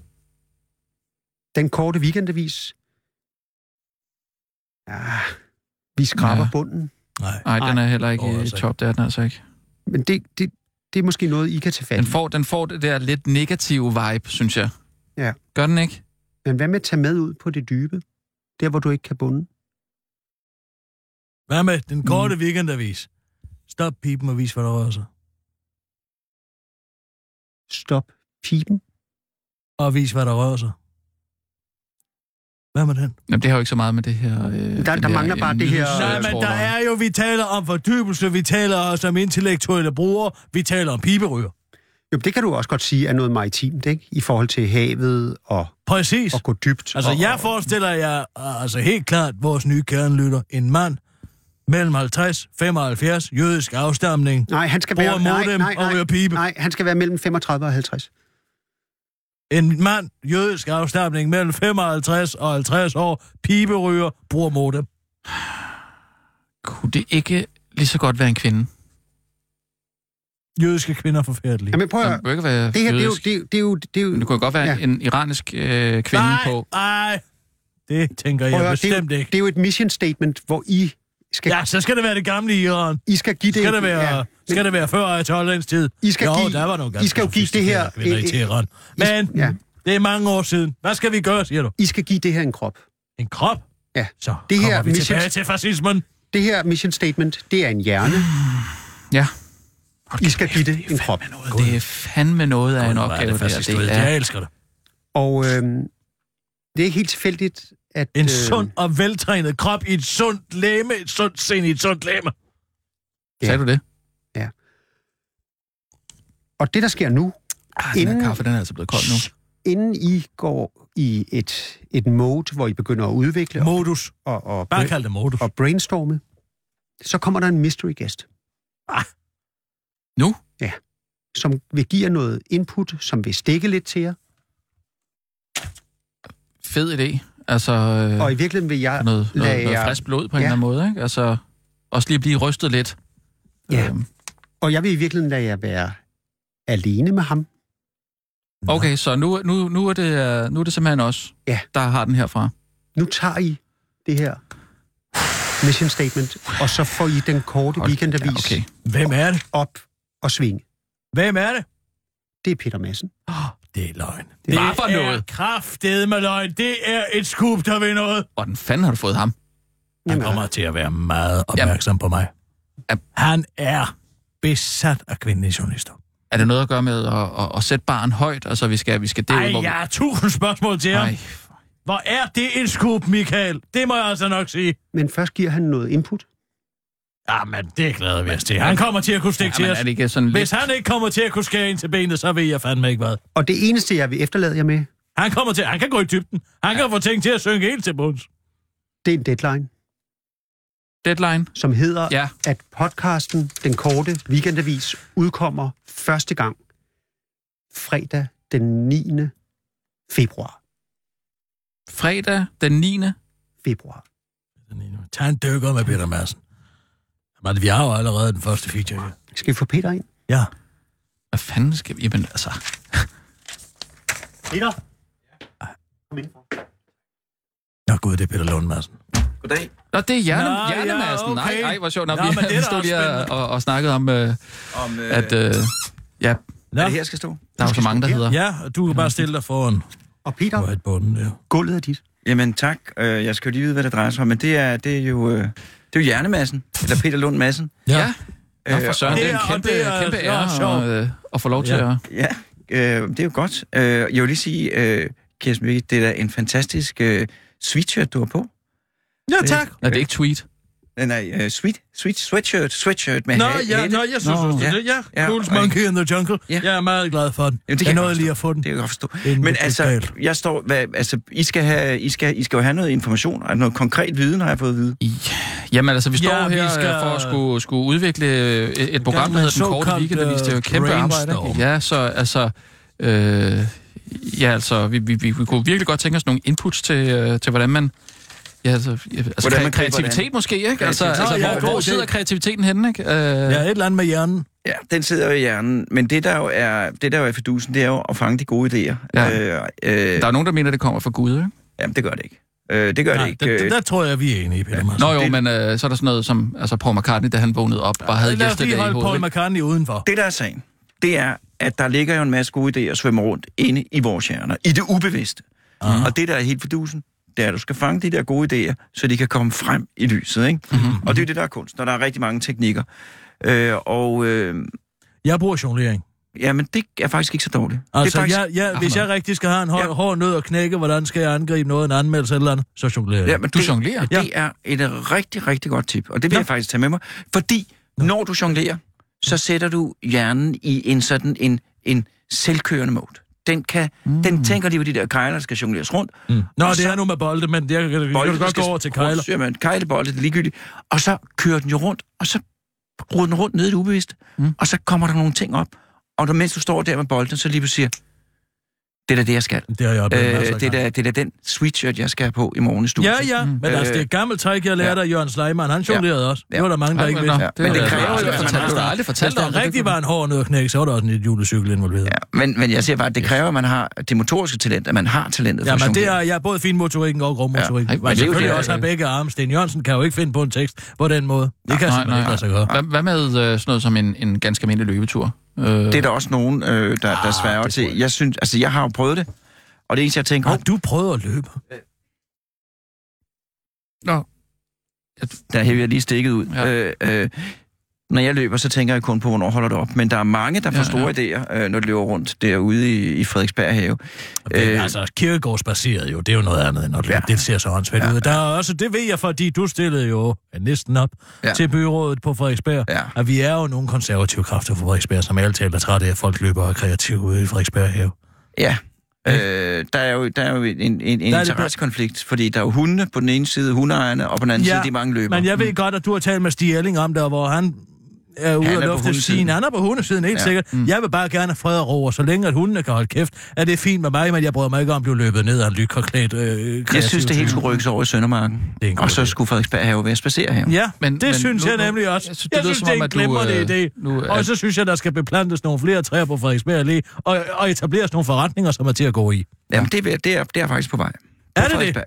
Speaker 3: Den korte weekendavis. Ah, vi skraber
Speaker 4: Ja.
Speaker 3: ja. bunden.
Speaker 5: Nej.
Speaker 4: Nej, den
Speaker 3: Ej.
Speaker 4: er heller ikke
Speaker 5: Åh,
Speaker 4: oh,
Speaker 5: altså
Speaker 4: altså.
Speaker 5: ikke.
Speaker 4: top, det er den altså ikke.
Speaker 3: Men det, det, det er måske noget, I kan tage fat
Speaker 4: Den
Speaker 3: i.
Speaker 4: får, den får det der lidt negative vibe, synes jeg.
Speaker 3: Ja.
Speaker 4: Gør den ikke?
Speaker 3: Men hvad med at tage med ud på det dybe? Der, hvor du ikke kan bunde.
Speaker 5: Hvad med den korte mm. weekendavis? Stop pipen og vis, hvad der rører sig.
Speaker 3: Stop pipen.
Speaker 5: Og vis, hvad der rører sig. Hvad med den?
Speaker 4: Jamen, det har jo ikke så meget med det her... Øh, den
Speaker 3: der mangler bare det her-
Speaker 4: nyheds-
Speaker 3: Øh,
Speaker 5: Nej,
Speaker 3: jeg
Speaker 5: men
Speaker 4: tror,
Speaker 5: der er jo, vi taler om fordybelse, vi taler også om intellektuelle brugere, vi taler om piberyger.
Speaker 3: Jo, men det kan du også godt sige er noget maritimt, ikke? I forhold til havet og
Speaker 5: Præcis.
Speaker 3: at gå dybt.
Speaker 5: Altså,
Speaker 3: og,
Speaker 5: jeg
Speaker 3: og-
Speaker 5: forestiller jer, altså helt klart, vores nye kernelytter, en mand mellem 50, 75, jødisk afstamning.
Speaker 3: Nej, han skal
Speaker 5: bruger
Speaker 3: være... Nej,
Speaker 5: modem
Speaker 3: nej,
Speaker 5: og
Speaker 3: nej,
Speaker 5: ryger pibe.
Speaker 3: nej, han skal være mellem 35 og 50.
Speaker 5: En mand, jødisk afstamning, mellem 55 og 50 år, piberyger, bruger modem.
Speaker 4: Kunne det ikke lige så godt være en kvinde?
Speaker 5: Jødiske kvinder er forfærdelige.
Speaker 3: Jamen, prøv at
Speaker 4: Den
Speaker 3: høre.
Speaker 4: kunne ikke være
Speaker 3: Det her, det er jo...
Speaker 4: jødisk.
Speaker 3: Det, er jo- det, er jo, det, er jo,
Speaker 4: Men øh, det kunne jo godt være
Speaker 3: Ja.
Speaker 4: ja. en iranisk øh, kvinde
Speaker 5: nej,
Speaker 4: på.
Speaker 5: nej, det tænker jeg
Speaker 3: prøv at høre, det, er
Speaker 5: bestemt
Speaker 3: jo,
Speaker 5: ikke.
Speaker 3: det er jo et mission statement, hvor I skal, ja.
Speaker 5: Ja, så skal det være det gamle Iran.
Speaker 3: I skal give det...
Speaker 5: Skal det være,
Speaker 3: Ja,
Speaker 5: skal det være før Ayatollahens tid?
Speaker 3: I skal
Speaker 5: jo,
Speaker 3: give-
Speaker 5: der var nogle
Speaker 3: I
Speaker 5: ganske
Speaker 3: skal jo give det her-
Speaker 5: sofistikerede kvinder
Speaker 3: I-
Speaker 5: i
Speaker 3: I-
Speaker 5: Teheran. Men
Speaker 3: ja.
Speaker 5: ja. det er mange år siden. Hvad skal vi gøre, siger du?
Speaker 3: I skal give det her en krop.
Speaker 5: En krop?
Speaker 3: Ja.
Speaker 5: Så
Speaker 3: Det
Speaker 5: det
Speaker 3: her
Speaker 5: her, vi
Speaker 3: missions-
Speaker 5: tilbage til fascismen.
Speaker 3: Det her mission statement, det er en hjerne.
Speaker 5: Ah,
Speaker 4: Ja.
Speaker 3: I skal give det en krop.
Speaker 4: Det er fandme noget af en
Speaker 5: Hvor er
Speaker 4: opgave, det,
Speaker 5: det,
Speaker 4: det
Speaker 5: fascist, du
Speaker 4: her.
Speaker 5: ved.
Speaker 4: Det
Speaker 5: Jeg
Speaker 4: er.
Speaker 5: elsker det.
Speaker 3: Og øhm, det er ikke helt tilfældigt, at...
Speaker 5: En
Speaker 4: Øh.
Speaker 5: sund og veltrænet krop i et sundt læme, et sundt sind i et sundt læme.
Speaker 3: Ja.
Speaker 4: Sagde du det?
Speaker 3: øhm, Og det, der sker nu,
Speaker 4: Ah, den
Speaker 3: Inden-
Speaker 4: her kaffe, den er altså blevet kold nu.
Speaker 3: inden I går i et, et mode, hvor I begynder at udvikle og,
Speaker 5: Modus.
Speaker 3: og, og,
Speaker 5: Bare kald det modus.
Speaker 3: og brainstorme, så kommer der en mystery guest.
Speaker 5: Ah.
Speaker 4: Nu?
Speaker 3: Ja. Som vil give jer noget input, som vil stikke lidt til jer.
Speaker 4: Fed idé. Altså, øh,
Speaker 3: Ja. Og i virkeligheden vil jeg...
Speaker 4: noget,
Speaker 3: lagde
Speaker 4: noget, noget
Speaker 3: jeg-
Speaker 4: frisk blod på en
Speaker 3: Ja.
Speaker 4: eller anden måde, ikke? Altså, også lige blive rystet lidt.
Speaker 3: Ja.
Speaker 4: Øhm,
Speaker 3: Og jeg vil i virkeligheden lade jer være alene med ham.
Speaker 4: Okay, så nu, nu, nu, er det, øh, nu er det simpelthen os,
Speaker 3: Ja.
Speaker 4: der har den herfra.
Speaker 3: Nu tager I det her mission statement, og så får I den korte
Speaker 4: Hold-
Speaker 3: weekendavis
Speaker 4: Ja, okay.
Speaker 5: Hvem er det?
Speaker 3: op og svinge.
Speaker 5: Hvem er det?
Speaker 3: Det er Peter Madsen.
Speaker 5: Det er løgn. Det,
Speaker 4: var for
Speaker 5: er
Speaker 4: noget.
Speaker 5: kraftedet med løgn. Det er et skub, der vil noget.
Speaker 4: Hvordan fanden har du fået ham?
Speaker 5: Han
Speaker 3: Jamen,
Speaker 5: kommer til at være meget opmærksom på mig.
Speaker 4: Jamen.
Speaker 5: Han er besat af kvindelige journalister.
Speaker 4: Er det noget at gøre med at, at, at sætte baren højt? Altså, vi skal, vi skal derud,
Speaker 5: Ej,
Speaker 4: hvor
Speaker 5: jeg har tusind spørgsmål til
Speaker 4: vi...
Speaker 5: ham.
Speaker 4: Ej,
Speaker 5: Hvor er det et skub, Michael? Det må jeg altså nok sige.
Speaker 3: Men først giver han noget input.
Speaker 5: Jamen, det glæder vi os til. Han kommer til at kunne stikke
Speaker 4: jamen,
Speaker 5: til
Speaker 4: er
Speaker 5: os.
Speaker 4: det ikke sådan
Speaker 5: Hvis
Speaker 4: lidt...
Speaker 5: han ikke kommer til at kunne skære ind til benet, så ved jeg fandme ikke hvad.
Speaker 3: Og det eneste, jeg vil efterlade jer med,
Speaker 5: Han kommer til, han kan gå i dybden. Han kan få ting til at synke helt til bunds.
Speaker 3: det er en deadline,
Speaker 4: Deadline?
Speaker 3: som hedder,
Speaker 4: Ja.
Speaker 3: at podcasten, den korte weekendavis, udkommer første gang fredag den 9. februar.
Speaker 4: Fredag den 9.
Speaker 3: februar.
Speaker 5: Tag en dykker med Peter Madsen. Men vi har jo allerede den første feature. ja.
Speaker 3: Skal vi få Peter ind?
Speaker 5: Ja.
Speaker 4: Hvad fanden skal vi... Jamen, altså...
Speaker 3: Peter? Kom ind.
Speaker 5: Nå gud, det er Peter Lund Madsen.
Speaker 2: Goddag.
Speaker 4: Nå, det er hjerne,
Speaker 5: Nå,
Speaker 4: Nå, hjernemassen. Ja,
Speaker 5: ja,
Speaker 4: okay.
Speaker 5: okay.
Speaker 4: Nej, ej, hvor sjovt. Nå,
Speaker 5: Nå,
Speaker 4: vi
Speaker 5: men det er da
Speaker 4: stod
Speaker 5: også
Speaker 4: lige og,
Speaker 5: spændende.
Speaker 4: og, og snakkede om, øh,
Speaker 2: Om, øh,
Speaker 4: at... Øh, ja,
Speaker 5: Nå,
Speaker 2: er det her, jeg skal stå?
Speaker 4: der er jo så mange, der hedder...
Speaker 5: ja, og du kan bare stille dig foran
Speaker 3: Og Peter,
Speaker 5: whiteboarden der.
Speaker 3: gulvet er dit.
Speaker 2: Jamen tak. Øh, jeg skal jo lige vide, hvad det drejer sig om, men det er, det er jo... Øh, det er jo hjernemassen, eller Peter Lund Madsen. Øh,
Speaker 4: Ja. Nå, for søren,
Speaker 5: og
Speaker 4: Øh, det er en
Speaker 5: det er-
Speaker 4: kæmpe,
Speaker 5: og det er-
Speaker 4: kæmpe
Speaker 5: det er
Speaker 4: ære
Speaker 5: sjovt.
Speaker 4: og, øh, at få lov til
Speaker 5: Ja.
Speaker 4: at...
Speaker 2: Ja, øh, det er jo godt. Øh, jeg vil lige sige, øh, Kirsten Birke, det er da en fantastisk øh, sweatshirt, du har på.
Speaker 5: Ja, tak.
Speaker 4: Nej, det er ikke tweet.
Speaker 2: Nej, nej, øh, sweet, sweet sweatshirt, sweatshirt med
Speaker 5: Nå,
Speaker 2: ha-
Speaker 5: ja,
Speaker 2: hætte.
Speaker 5: nå, jeg synes også,
Speaker 2: ja.
Speaker 5: det ja. ja.
Speaker 2: Ja,
Speaker 5: Cool's
Speaker 2: og-
Speaker 5: Monkey in the Jungle.
Speaker 2: Ja.
Speaker 5: Jeg er meget glad for den.
Speaker 2: Jamen,
Speaker 5: jeg
Speaker 2: det kan jeg
Speaker 5: nåede
Speaker 2: godt
Speaker 5: lige at få den.
Speaker 2: Det kan jeg godt forstå.
Speaker 5: Inden
Speaker 2: Men
Speaker 5: det
Speaker 2: altså,
Speaker 5: totalt.
Speaker 2: jeg står, hvad, altså, I skal, have, I, skal, I skal jo have noget information, altså noget konkret viden, har jeg fået at vide.
Speaker 4: I- Jamen altså, vi står
Speaker 5: Ja,
Speaker 4: ja,
Speaker 5: vi
Speaker 4: her vi
Speaker 5: skal-
Speaker 4: skal... for at skulle, skulle udvikle øh, et, et program, der hedder Den Korte
Speaker 5: såkaldt,
Speaker 4: Weekend, det er jo
Speaker 5: øh,
Speaker 4: et kæmpe arbejde.
Speaker 5: brainstorm.
Speaker 4: ikke? Ja, så altså... Øh, ja, altså, vi, vi, vi, vi kunne virkelig godt tænke os nogle inputs til, øh, til hvordan man... Ja, altså, ja, altså
Speaker 2: Hvordan
Speaker 4: hvordan
Speaker 2: man
Speaker 4: man
Speaker 2: griber det an.
Speaker 4: kreativitet måske, ikke? Altså,
Speaker 2: Kreativitet.
Speaker 4: altså
Speaker 5: Nå, ja,
Speaker 4: hvor,
Speaker 5: god
Speaker 4: hvor
Speaker 5: idé.
Speaker 4: sidder kreativiteten henne, ikke? Øh,
Speaker 5: Ja, et eller andet med hjernen.
Speaker 2: Ja, den sidder jo i hjernen, men det der jo er, det der jo er fidusen, det er jo at fange de gode idéer.
Speaker 4: Ja.
Speaker 2: Øh, øh,
Speaker 4: Der er nogen, der mener, det kommer fra Gud, ikke?
Speaker 2: Jamen, det gør det ikke. Øh, det gør
Speaker 5: Nej,
Speaker 2: det ikke.
Speaker 5: det- det-
Speaker 2: Øh,
Speaker 5: Der tror jeg, vi er enige, Peter Madsen.
Speaker 4: Nå jo,
Speaker 2: det-
Speaker 4: men øh, så er der sådan noget som altså Paul McCartney, da han vågnede op, bare havde
Speaker 5: Lad os
Speaker 4: yesterday i
Speaker 5: lige holde Paul
Speaker 4: hovedet. ikke?
Speaker 5: McCartney udenfor.
Speaker 2: det, der er sagen, det er, at der ligger jo en masse gode idéer at svømme rundt inde i vores hjerner, i det ubevidste.
Speaker 5: Aha.
Speaker 2: Uh-huh. Og det, der er helt fidusen, det er, at du skal fange de der gode idéer, så de kan komme frem i lyset, ikke?
Speaker 5: Mhm.
Speaker 2: Mm-hmm. Og det er det, der er kunst, når der er rigtig mange teknikker. Øh, og øh,
Speaker 5: Jeg bruger jonglering.
Speaker 2: jamen, det er faktisk ikke så dårligt.
Speaker 5: Altså,
Speaker 2: det er faktisk...
Speaker 5: jeg, jeg, hvis
Speaker 4: Ah,
Speaker 5: jeg rigtig skal have en hård,
Speaker 2: Ja.
Speaker 5: hård nød at knække, hvordan skal jeg angribe noget, en anmeldelse eller andet, så jonglerer jeg.
Speaker 2: Jamen,
Speaker 4: Du
Speaker 2: det,
Speaker 4: jonglerer?
Speaker 2: Ja. Det er et rigtig, rigtig godt tip, og det vil
Speaker 5: Nå.
Speaker 2: jeg faktisk tage med mig. Fordi når du jonglerer, så sætter du hjernen i en sådan en, en selvkørende mode. Den, kan, mm. den tænker lige på de der kejler, der skal jongleres rundt.
Speaker 5: Mm. Nå,
Speaker 2: Og
Speaker 5: det
Speaker 2: så-
Speaker 5: er nu med bolde, men jeg kan, kan du godt gå over til kejler.
Speaker 2: Ja, man, kejlebolde, det er ligegyldigt. Og så kører den jo rundt, og så ruder den rundt ned i det ubevidste,
Speaker 4: Mm.
Speaker 2: mm. og så kommer der nogle ting op. Og når, mens du står der med bolden, så lige pludselig siger, det er da det, jeg skal.
Speaker 5: Det har jeg oplevet masser af
Speaker 2: Øh, det, er
Speaker 5: gange.
Speaker 2: da, det er da den sweatshirt, jeg skal have på i morgen i studiet.
Speaker 5: Ja, ja, men
Speaker 2: Øh,
Speaker 5: altså, det er et gammelt træk, jeg lærte
Speaker 2: ja.
Speaker 5: af Jørgen Sleiman. Han jonglerede også.
Speaker 2: Ja.
Speaker 5: Det var der mange, der ikke
Speaker 4: Ej, nå,
Speaker 5: vidste.
Speaker 2: Ja, men øh,
Speaker 4: var-
Speaker 2: det kræver jo,
Speaker 4: altså,
Speaker 2: at man
Speaker 4: fortæl-
Speaker 2: har-
Speaker 4: Du har aldrig
Speaker 5: Hvis
Speaker 4: fortalt om
Speaker 5: der
Speaker 4: det.
Speaker 5: rigtig var en hård nød at knække, så var der også en lidt julecykel involveret. Ja,
Speaker 2: Ja, men, men jeg siger bare, at det kræver, at man har det motoriske talent, at man har talentet for at
Speaker 5: Jamen, det
Speaker 2: jonglere.
Speaker 5: er jeg er både finmotorikken og grovmotorikken.
Speaker 4: Ja. Ej,
Speaker 5: Ja.
Speaker 4: men
Speaker 5: Men
Speaker 4: det er jo
Speaker 5: selvfølgelig
Speaker 2: det,
Speaker 5: også have
Speaker 4: øh,
Speaker 5: begge arme. Sten Jørgensen kan jo ikke finde på en tekst på den måde. Det kan
Speaker 4: nej,
Speaker 5: simpelthen ikke
Speaker 4: nej.
Speaker 5: lade sig gøre.
Speaker 4: Hvad, hvad med øh, sådan noget som en, en ganske almindelig løbetur? Øh,
Speaker 2: Det er der også nogen, øh, der, der sværger
Speaker 5: Ah, det tror jeg
Speaker 2: til. Jeg synes, altså, jeg har jo prøvet det, og det eneste, jeg tænker,
Speaker 5: Har
Speaker 2: oh,
Speaker 5: du prøvet at løbe?
Speaker 2: der hæver jeg lige stikket ud.
Speaker 4: Ja.
Speaker 2: Ja. Øh, øh, når jeg løber, så tænker jeg kun på, hvornår holder det op. Men der er mange, der får
Speaker 4: Ja,
Speaker 2: store idéer, øh, når de løber rundt derude i, i Frederiksberg Have.
Speaker 5: Det,
Speaker 2: Øh,
Speaker 5: altså, kirkegårdsbaseret jo, det er jo noget andet end at løbe. Ja. Det ser så åndssvagt ja. ud. Der er også, det ved jeg, fordi du stillede jo næsten op ja.
Speaker 2: Ja.
Speaker 5: til byrådet på Frederiksberg,
Speaker 2: Ja.
Speaker 5: at vi er jo nogle konservative kræfter på Frederiksberg, som alle taler trætte af, at folk løber og er kreative ude i Frederiksberg have.
Speaker 2: Ja. Øh, der er jo, der er jo en, en, en
Speaker 5: Der er det-
Speaker 2: interessekonflikt, fordi der er jo hundene på den ene side, hundeejerne, og på den anden
Speaker 5: Ja,
Speaker 2: ja, side, de mange løber.
Speaker 5: Men jeg ved godt, at du har talt med Stig Elling om det, og hvor han er ude
Speaker 2: Han er
Speaker 5: at
Speaker 2: på
Speaker 5: lufte
Speaker 2: hundesiden.
Speaker 5: sin. Han er på hundesiden, helt ja.
Speaker 2: Ja.
Speaker 5: sikkert. Mm. Jeg vil bare gerne have fred og ro, og så længe at hundene kan holde kæft, er det fint med mig, men jeg bryder mig ikke om at blive løbet ned af en lykkerklædt øh,
Speaker 2: jeg
Speaker 5: kreativ
Speaker 2: synes, det hele
Speaker 5: type.
Speaker 2: skulle rykkes over i Søndermarken,
Speaker 5: Det er en god
Speaker 2: og så
Speaker 5: idé.
Speaker 2: skulle Frederiksberg Have være spacere her.
Speaker 5: Ja, men,
Speaker 4: Men-
Speaker 5: det men
Speaker 4: men
Speaker 5: synes
Speaker 4: nu-
Speaker 5: jeg
Speaker 4: nu-
Speaker 5: nemlig også. Jeg
Speaker 4: jeg
Speaker 5: synes,
Speaker 2: altså,
Speaker 4: synes,
Speaker 5: det,
Speaker 4: det lyder som
Speaker 5: er
Speaker 4: om,
Speaker 5: en
Speaker 4: at du,
Speaker 5: glimrende
Speaker 4: øh,
Speaker 5: idé.
Speaker 4: nu er-
Speaker 5: og så synes jeg, der skal beplantes nogle flere træer på Frederiksberg Allé, og, og etableres nogle forretninger, som er til at gå i.
Speaker 2: Jamen, det, er, ved- det, er, det er faktisk på vej. På
Speaker 5: Er det det?
Speaker 2: Frederiksberg,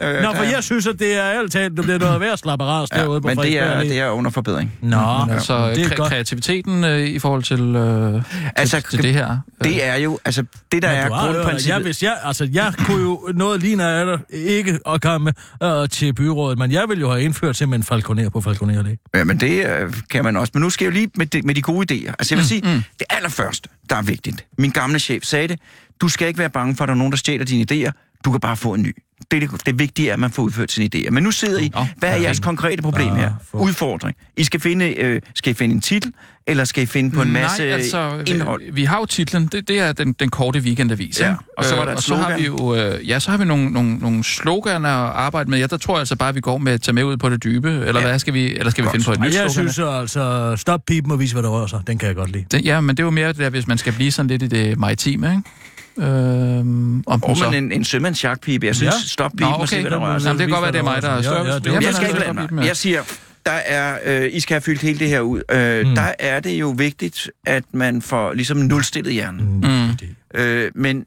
Speaker 5: Ja. Nå,
Speaker 2: Ja. Øh,
Speaker 5: Nå,
Speaker 2: der
Speaker 5: for
Speaker 2: er-
Speaker 5: jeg synes, at det er alt talt, du bliver noget værd slapperas ja, derude på
Speaker 2: men det er,
Speaker 5: Frederiksberg Mm.
Speaker 2: det
Speaker 5: Allé.
Speaker 2: er under forbedring.
Speaker 5: Nå,
Speaker 4: Men altså,
Speaker 5: det er
Speaker 4: kre-
Speaker 5: godt.
Speaker 4: kreativiteten øh, i forhold til, øh, altså,
Speaker 2: Altså,
Speaker 4: til, til det her.
Speaker 2: Det er jo, altså, det der
Speaker 5: Men
Speaker 2: er
Speaker 5: du har hørt, at Jeg,
Speaker 2: grundprincippet.
Speaker 5: hvis jeg, altså, jeg kunne jo noget lignende af det, ikke at komme øh, til byrådet, men jeg ville jo have indført simpelthen falconer på falconer Allé.
Speaker 2: Ja, men det øh, kan man også. Men nu skal jeg jo lige med de, med de gode idéer. Altså, jeg vil sige, det allerførste, der er vigtigt. Min gamle chef sagde det. Du skal ikke være bange for, at der er nogen, der stjæler dine idéer. Du kan bare få en ny. Det, er det, det vigtige er, at man får udført sine idéer. Men nu sidder I.
Speaker 4: Nå,
Speaker 2: Hvad er jeres konkrete problem her? Udfordring. I skal finde, øh, skal I finde en titel, eller skal I finde på en masse
Speaker 4: Nej, altså, vi-
Speaker 2: indhold?
Speaker 4: Vi, har jo titlen, det, det er den, den korte weekendavis.
Speaker 2: Ja,
Speaker 4: ikke?
Speaker 2: og så var
Speaker 4: Øh,
Speaker 2: der et
Speaker 4: og så har vi jo, øh, Ja, så har vi nogle, nogle, nogle sloganer at arbejde med. Ja, der tror jeg altså bare, at vi går med at tage med ud på det dybe, eller
Speaker 2: Ja.
Speaker 4: hvad skal vi, eller skal vi
Speaker 2: Godt.
Speaker 4: finde på et
Speaker 5: Og
Speaker 4: nyt
Speaker 5: jeg
Speaker 4: slogan?
Speaker 5: synes jo altså, stop pipen og vis, hvad der rører sig. Den kan jeg godt lide.
Speaker 4: Det, ja, men det er jo mere det der, hvis man skal blive sådan lidt i det maritime, ikke? Øhm, om den
Speaker 2: Og
Speaker 4: så.
Speaker 2: man en, en sømandsjagtpibe. Jeg synes,
Speaker 5: Ja.
Speaker 2: ja. stop
Speaker 4: Nå,
Speaker 2: pipen okay. og se,
Speaker 4: okay.
Speaker 2: hvad der rører sig.
Speaker 4: Jamen, det kan godt være, det er mig, der er
Speaker 5: Ja,
Speaker 4: større.
Speaker 5: ja, det er jo-
Speaker 4: Jamen,
Speaker 2: Jeg skal
Speaker 4: altså,
Speaker 2: ikke
Speaker 4: stop
Speaker 2: blande
Speaker 4: pipen,
Speaker 2: mig.
Speaker 4: ja.
Speaker 2: Jeg siger, der er, øh, I skal have fyldt hele det her ud. Øh,
Speaker 5: Mm.
Speaker 2: mm. Der er det jo vigtigt, at man får ligesom nulstillet hjernen.
Speaker 5: Mm.
Speaker 4: Mm.
Speaker 2: Øh, men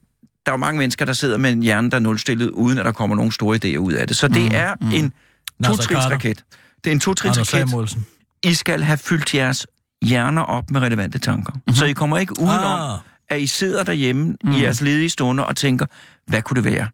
Speaker 2: der er jo mange mennesker, der sidder med en hjerne, der er nulstillet, uden at der kommer nogen store idéer ud af det. Så det
Speaker 4: Mm,
Speaker 2: mm. er
Speaker 4: mm.
Speaker 2: en
Speaker 5: Nasser Carter,
Speaker 2: totrinsraket. Det er en
Speaker 5: Anders
Speaker 2: totrinsraket.
Speaker 5: Samuelsen.
Speaker 2: I skal have fyldt jeres hjerner op med relevante tanker. Mm-hmm. Så I kommer ikke udenom,
Speaker 5: Ah,
Speaker 2: at I sidder derhjemme mm.
Speaker 4: Mm.
Speaker 2: i jeres ledige stunder og tænker, hvad kunne det være?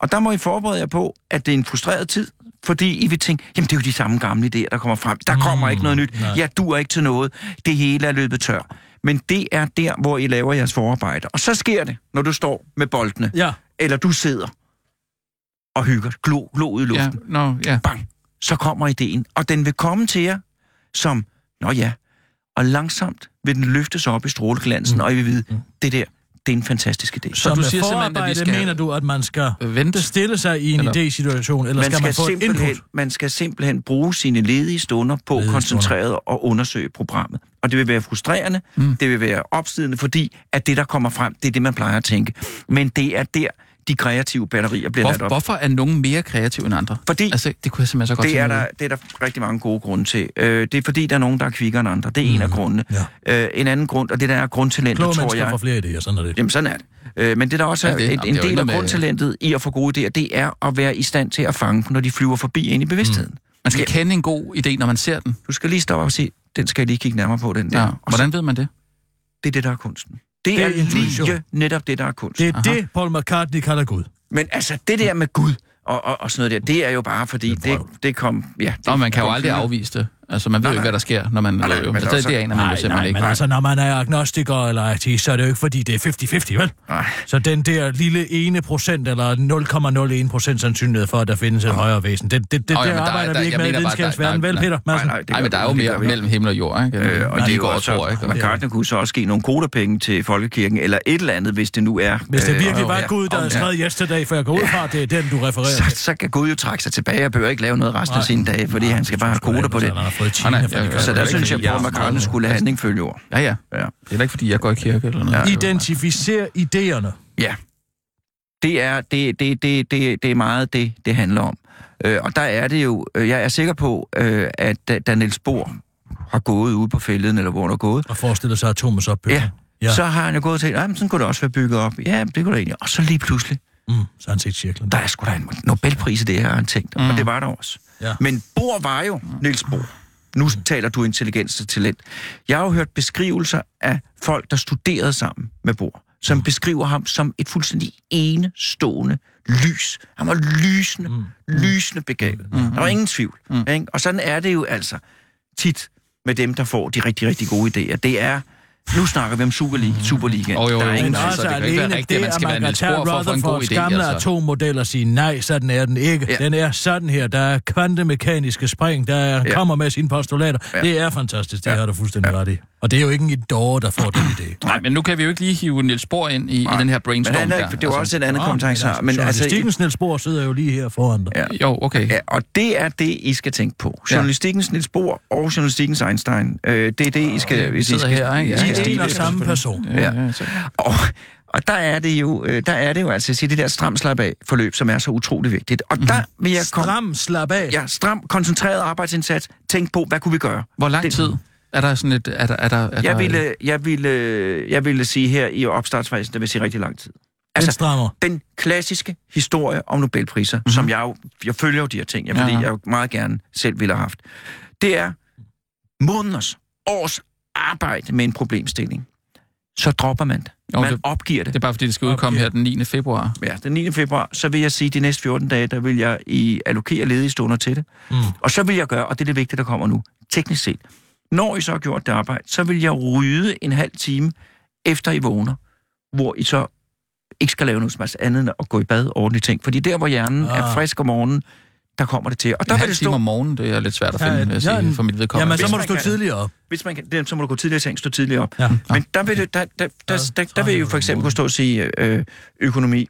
Speaker 2: Og der må I forberede jer på, at det er en frustreret tid, fordi I vil tænke, jamen det er jo de samme gamle idéer, der kommer frem. Der
Speaker 5: Mm,
Speaker 2: kommer ikke noget nyt.
Speaker 5: nej.
Speaker 2: Jeg duer ikke til noget. Det hele er løbet tør. Men det er der, hvor I laver jeres forarbejde. Og så sker det, når du står med boldene,
Speaker 5: ja.
Speaker 2: eller du sidder og hygger, glo, glo ud i luften
Speaker 4: Ja, no, ja.
Speaker 2: bang, så kommer ideen, og den vil komme til jer som, nå ja, og langsomt vil den løftes op i stråleglansen,
Speaker 5: Mm.
Speaker 2: mm. og I vil vide,
Speaker 5: Mm.
Speaker 2: det der, det er en fantastisk idé.
Speaker 5: Så
Speaker 4: du
Speaker 5: du med
Speaker 4: siger simpelthen, at vi
Speaker 5: forarbejde
Speaker 4: skal-
Speaker 5: mener du, at man skal
Speaker 4: Vente.
Speaker 5: stille sig i en
Speaker 4: Eller-
Speaker 5: idésituation, eller
Speaker 2: Man
Speaker 5: skal
Speaker 2: skal,
Speaker 5: man få et
Speaker 2: simpelthen,
Speaker 5: input?
Speaker 2: man skal simpelthen bruge sine ledige stunder på
Speaker 5: Ledige
Speaker 2: koncentreret og undersøge programmet. Og det vil være frustrerende,
Speaker 4: Mm.
Speaker 2: mm. det vil være opslidende, fordi at det, der kommer frem, det er det, man plejer at tænke. Men det er der, de kreative batterier bliver ladt
Speaker 4: Hvor,
Speaker 2: op.
Speaker 4: hvorfor er nogen mere kreative end andre?
Speaker 2: Fordi
Speaker 4: Altså, det kunne jeg simpelthen så godt
Speaker 2: det er,
Speaker 4: tænke mig.
Speaker 2: der, det er der rigtig mange gode grunde til. Øh, det er fordi, der er nogen, der er kvikkere end andre. Det er mm. en
Speaker 4: Mm-hmm.
Speaker 2: af grundene. Ja. Øh, en anden grund, og det der er grundtalentet,
Speaker 5: Kloge
Speaker 2: tror
Speaker 5: mennesker får
Speaker 2: jeg.
Speaker 5: flere idéer, sådan er det.
Speaker 2: Jamen sådan er det. Øh, men det der også
Speaker 4: Ja,
Speaker 2: er,
Speaker 4: det-
Speaker 2: det,
Speaker 4: jamen,
Speaker 2: en,
Speaker 4: det er
Speaker 2: en
Speaker 4: jo ikke
Speaker 2: del
Speaker 4: noget
Speaker 2: af
Speaker 4: med-
Speaker 2: grundtalentet i at få gode idéer, det er at være i stand til at fange dem, når de flyver forbi ind i bevidstheden. Mm.
Speaker 4: Man skal kende en god idé, når man ser den.
Speaker 2: Du skal lige stoppe og sige, den skal jeg lige kigge nærmere på, den der.
Speaker 4: Ja.
Speaker 2: Ja. Og så,
Speaker 4: Hvordan ved man det?
Speaker 2: det er det, der er kunsten. Det,
Speaker 5: Det
Speaker 2: det
Speaker 5: er
Speaker 2: er
Speaker 5: intuition.
Speaker 2: lige netop det, der er kunst.
Speaker 5: Det
Speaker 2: Det.
Speaker 5: er det, Paul McCartney kalder Gud.
Speaker 2: Men altså, det der med Gud og, og, og sådan noget der, det er jo bare fordi,
Speaker 5: Det er
Speaker 2: det,
Speaker 5: vrøvl.
Speaker 2: det kom... Ja, det,
Speaker 4: Nå, man kan jo
Speaker 2: kom
Speaker 4: aldrig
Speaker 2: fyre.
Speaker 4: afvise det. Altså, man ved jo ikke, hvad der sker, når man
Speaker 2: Nej, nej,
Speaker 4: løber.
Speaker 2: men
Speaker 4: Så
Speaker 2: der er
Speaker 4: det,
Speaker 2: så-
Speaker 4: det aner man jo
Speaker 5: Nej,
Speaker 4: simpelthen
Speaker 5: nej,
Speaker 4: ikke.
Speaker 5: men altså, når man er agnostiker eller ateist, så er det jo ikke, fordi det er 50-50, vel?
Speaker 2: Nej.
Speaker 5: Så den der lille ene procent, eller 0,01 procent sandsynlighed for, at der findes et højere væsen, det, det, det,
Speaker 4: Nå,
Speaker 5: oh,
Speaker 4: ja,
Speaker 5: det
Speaker 4: men der er-
Speaker 5: arbejder
Speaker 4: der-
Speaker 5: vi
Speaker 4: jeg
Speaker 5: ikke med i
Speaker 4: mener bare,
Speaker 5: videnskabens
Speaker 4: der- nej,
Speaker 5: verden, vel,
Speaker 4: nej.
Speaker 5: Peter Madsen?
Speaker 2: Nej, nej, det
Speaker 4: Nej,
Speaker 2: gør
Speaker 4: men der
Speaker 2: vi-
Speaker 4: er jo
Speaker 2: det gør
Speaker 4: mere
Speaker 2: vi
Speaker 4: mellem himmel og jord, ikke? Øh,
Speaker 2: Øh, og det er jo også,
Speaker 4: tror, ikke?
Speaker 2: McCartney kunne så også give nogle kodapenge til folkekirken, eller et eller andet, hvis det nu er.
Speaker 5: Hvis det
Speaker 2: øh,
Speaker 5: virkelig var
Speaker 2: ja,
Speaker 5: Gud, der
Speaker 2: om-
Speaker 5: havde skrevet yesterday, for jeg går ud fra, at det er den, du refererer
Speaker 2: Så,
Speaker 5: til.
Speaker 2: så kan Gud jo trække sig tilbage og behøver ikke lave noget resten
Speaker 5: Nej.
Speaker 2: af sine dage, fordi han skal bare have koder på det.
Speaker 5: Han har fået
Speaker 4: Ah, nej,
Speaker 5: Kina, for
Speaker 4: ja,
Speaker 5: det gør
Speaker 4: ja,
Speaker 2: Så
Speaker 5: han
Speaker 2: der
Speaker 5: ikke.
Speaker 2: synes jeg,
Speaker 5: Ja,
Speaker 2: Paul McCartney skulle have handling følge ord.
Speaker 4: Ja, ja.
Speaker 2: Ja.
Speaker 4: Det er da ikke, fordi jeg går i kirke eller noget.
Speaker 5: Identificer idéerne.
Speaker 2: Ja. Det er, det, det, det, det, det er meget det, det handler om. Øh, og der er det jo, øh, jeg er sikker på, øh, at da, da Niels Bohr har gået ude på fælden, eller hvor han er gået,
Speaker 5: Og forestiller sig atomets opbygning.
Speaker 2: Ja.
Speaker 5: Ja.
Speaker 2: ja. så har han jo gået og tænkt, "Ej, men sådan kunne det også være bygget op. Ja, det kunne det egentlig. Og så lige pludselig,
Speaker 5: Mm, så har han set cirklen.
Speaker 2: der er sgu da en Nobelpris i det her, har han tænkt. Mm. Og det var der også.
Speaker 5: Ja.
Speaker 2: Men Bohr var jo Niels Bohr. Nu taler du intelligens og talent. Jeg har jo hørt beskrivelser af folk, der studerede sammen med Bohr, som beskriver ham som et fuldstændig enestående lys. Han var lysende, mm. lysende begavet. Mm. Der var ingen tvivl. Mm. Ikke? Og sådan er det jo altså tit med dem, der får de rigtig, rigtig gode idéer. Det er, nu snakker vi om Superliga. Superliga.
Speaker 4: Jo, jo,
Speaker 2: der
Speaker 4: jo.
Speaker 2: er ingen
Speaker 5: Men
Speaker 4: Altså, det
Speaker 5: også
Speaker 4: kan jo ikke være
Speaker 5: alene
Speaker 4: rigtigt, at man skal være
Speaker 5: kan
Speaker 4: Niels
Speaker 5: tage
Speaker 4: Bohr for at få en god
Speaker 5: Rutherfords
Speaker 4: idé,
Speaker 5: gamle
Speaker 4: altså.
Speaker 5: atommodel og sige, nej, sådan er den ikke.
Speaker 2: Ja.
Speaker 5: Den er sådan her. Der er kvantemekaniske spring, der er,
Speaker 2: Ja.
Speaker 5: kommer med sine postulater.
Speaker 2: Ja.
Speaker 5: Det er fantastisk, det har du fuldstændig ret i. Og det er jo ikke en idore, der får den idé.
Speaker 4: Nej, men nu kan vi jo ikke lige hive Niels Bohr ind i, i den her
Speaker 2: Men
Speaker 4: brainstorm
Speaker 2: han er,
Speaker 4: der. altså. Ah,
Speaker 2: det er jo også et andet
Speaker 5: Nå,
Speaker 2: kommentar. Men altså,
Speaker 5: Journalistikkens Niels Bohr sidder jo lige her foran dig.
Speaker 2: Ja.
Speaker 4: Jo, okay.
Speaker 2: Ja, og det er det, I skal tænke på. Journalistikkens Niels Bohr og journalistikkens Einstein. Øh, det er det, I skal...
Speaker 4: vi
Speaker 2: hvis I
Speaker 4: sidder
Speaker 2: skal-
Speaker 4: her, ikke?
Speaker 2: I
Speaker 4: Ja,
Speaker 2: skal
Speaker 5: De er en
Speaker 2: stile
Speaker 5: og
Speaker 2: efter.
Speaker 5: samme person.
Speaker 4: Ja, ja, så-
Speaker 2: Og, og der er det jo, øh, der er det jo altså, jeg siger, det der stram slap af forløb, som er så utrolig vigtigt. Og der
Speaker 4: Mhm.
Speaker 2: vil jeg komme...
Speaker 5: Stram, slap af.
Speaker 2: Ja, stram, koncentreret arbejdsindsats. Tænk på, hvad kunne vi gøre?
Speaker 4: Hvor lang
Speaker 2: Det-
Speaker 4: tid er der sådan et... Er der, er der, er der,
Speaker 2: Jeg ville, jeg ville, jeg ville sige her i opstartsfasen, det vil sige rigtig lang tid.
Speaker 5: Altså, den
Speaker 2: Altså,
Speaker 5: strammer.
Speaker 2: den klassiske historie om Nobelpriser, mm-hmm. som jeg jo, jeg følger jo de her ting, jeg, fordi
Speaker 4: Ja,
Speaker 2: ja.
Speaker 4: ja.
Speaker 2: jeg jo meget gerne selv ville have haft, det er måneders, års arbejde med en problemstilling. Så dropper man det.
Speaker 4: Jo,
Speaker 2: Man
Speaker 4: det-
Speaker 2: opgiver det.
Speaker 4: Det er bare, fordi det skal udkomme
Speaker 5: Okay.
Speaker 4: her den 9. februar.
Speaker 2: Ja, den 9. februar, så vil jeg sige, at de næste 14 dage, der vil jeg i allokere ledige stunder til det.
Speaker 5: Mm.
Speaker 2: Og så vil jeg gøre, og det er det vigtige, der kommer nu, teknisk set. Når I så har gjort det arbejde, så vil jeg rydde en halv time efter I vågner, hvor I så ikke skal lave noget som helst andet end at gå i bad og ordentlige ting. Fordi der, hvor hjernen ah. er
Speaker 5: Ah.
Speaker 2: frisk om morgenen, der kommer det til. Og der
Speaker 4: en
Speaker 2: vil
Speaker 4: halv
Speaker 2: det
Speaker 4: time om
Speaker 2: stå,
Speaker 4: morgenen, det er lidt svært at finde,
Speaker 5: Ja,
Speaker 4: ja, vil jeg
Speaker 5: ja,
Speaker 4: sige,
Speaker 5: en-
Speaker 4: for mit vedkommende.
Speaker 5: Jamen, så
Speaker 2: hvis
Speaker 5: må du
Speaker 2: man
Speaker 5: stå
Speaker 2: kan-
Speaker 5: tidligere op.
Speaker 2: hvis man kan, det, så må du gå tidligere i seng, stå tidligere op.
Speaker 5: Ja.
Speaker 2: Men der vil, det, der, der,
Speaker 5: Ah.
Speaker 2: der, der, der, der vil I jo for eksempel kunne stå og sige øh, økonomi.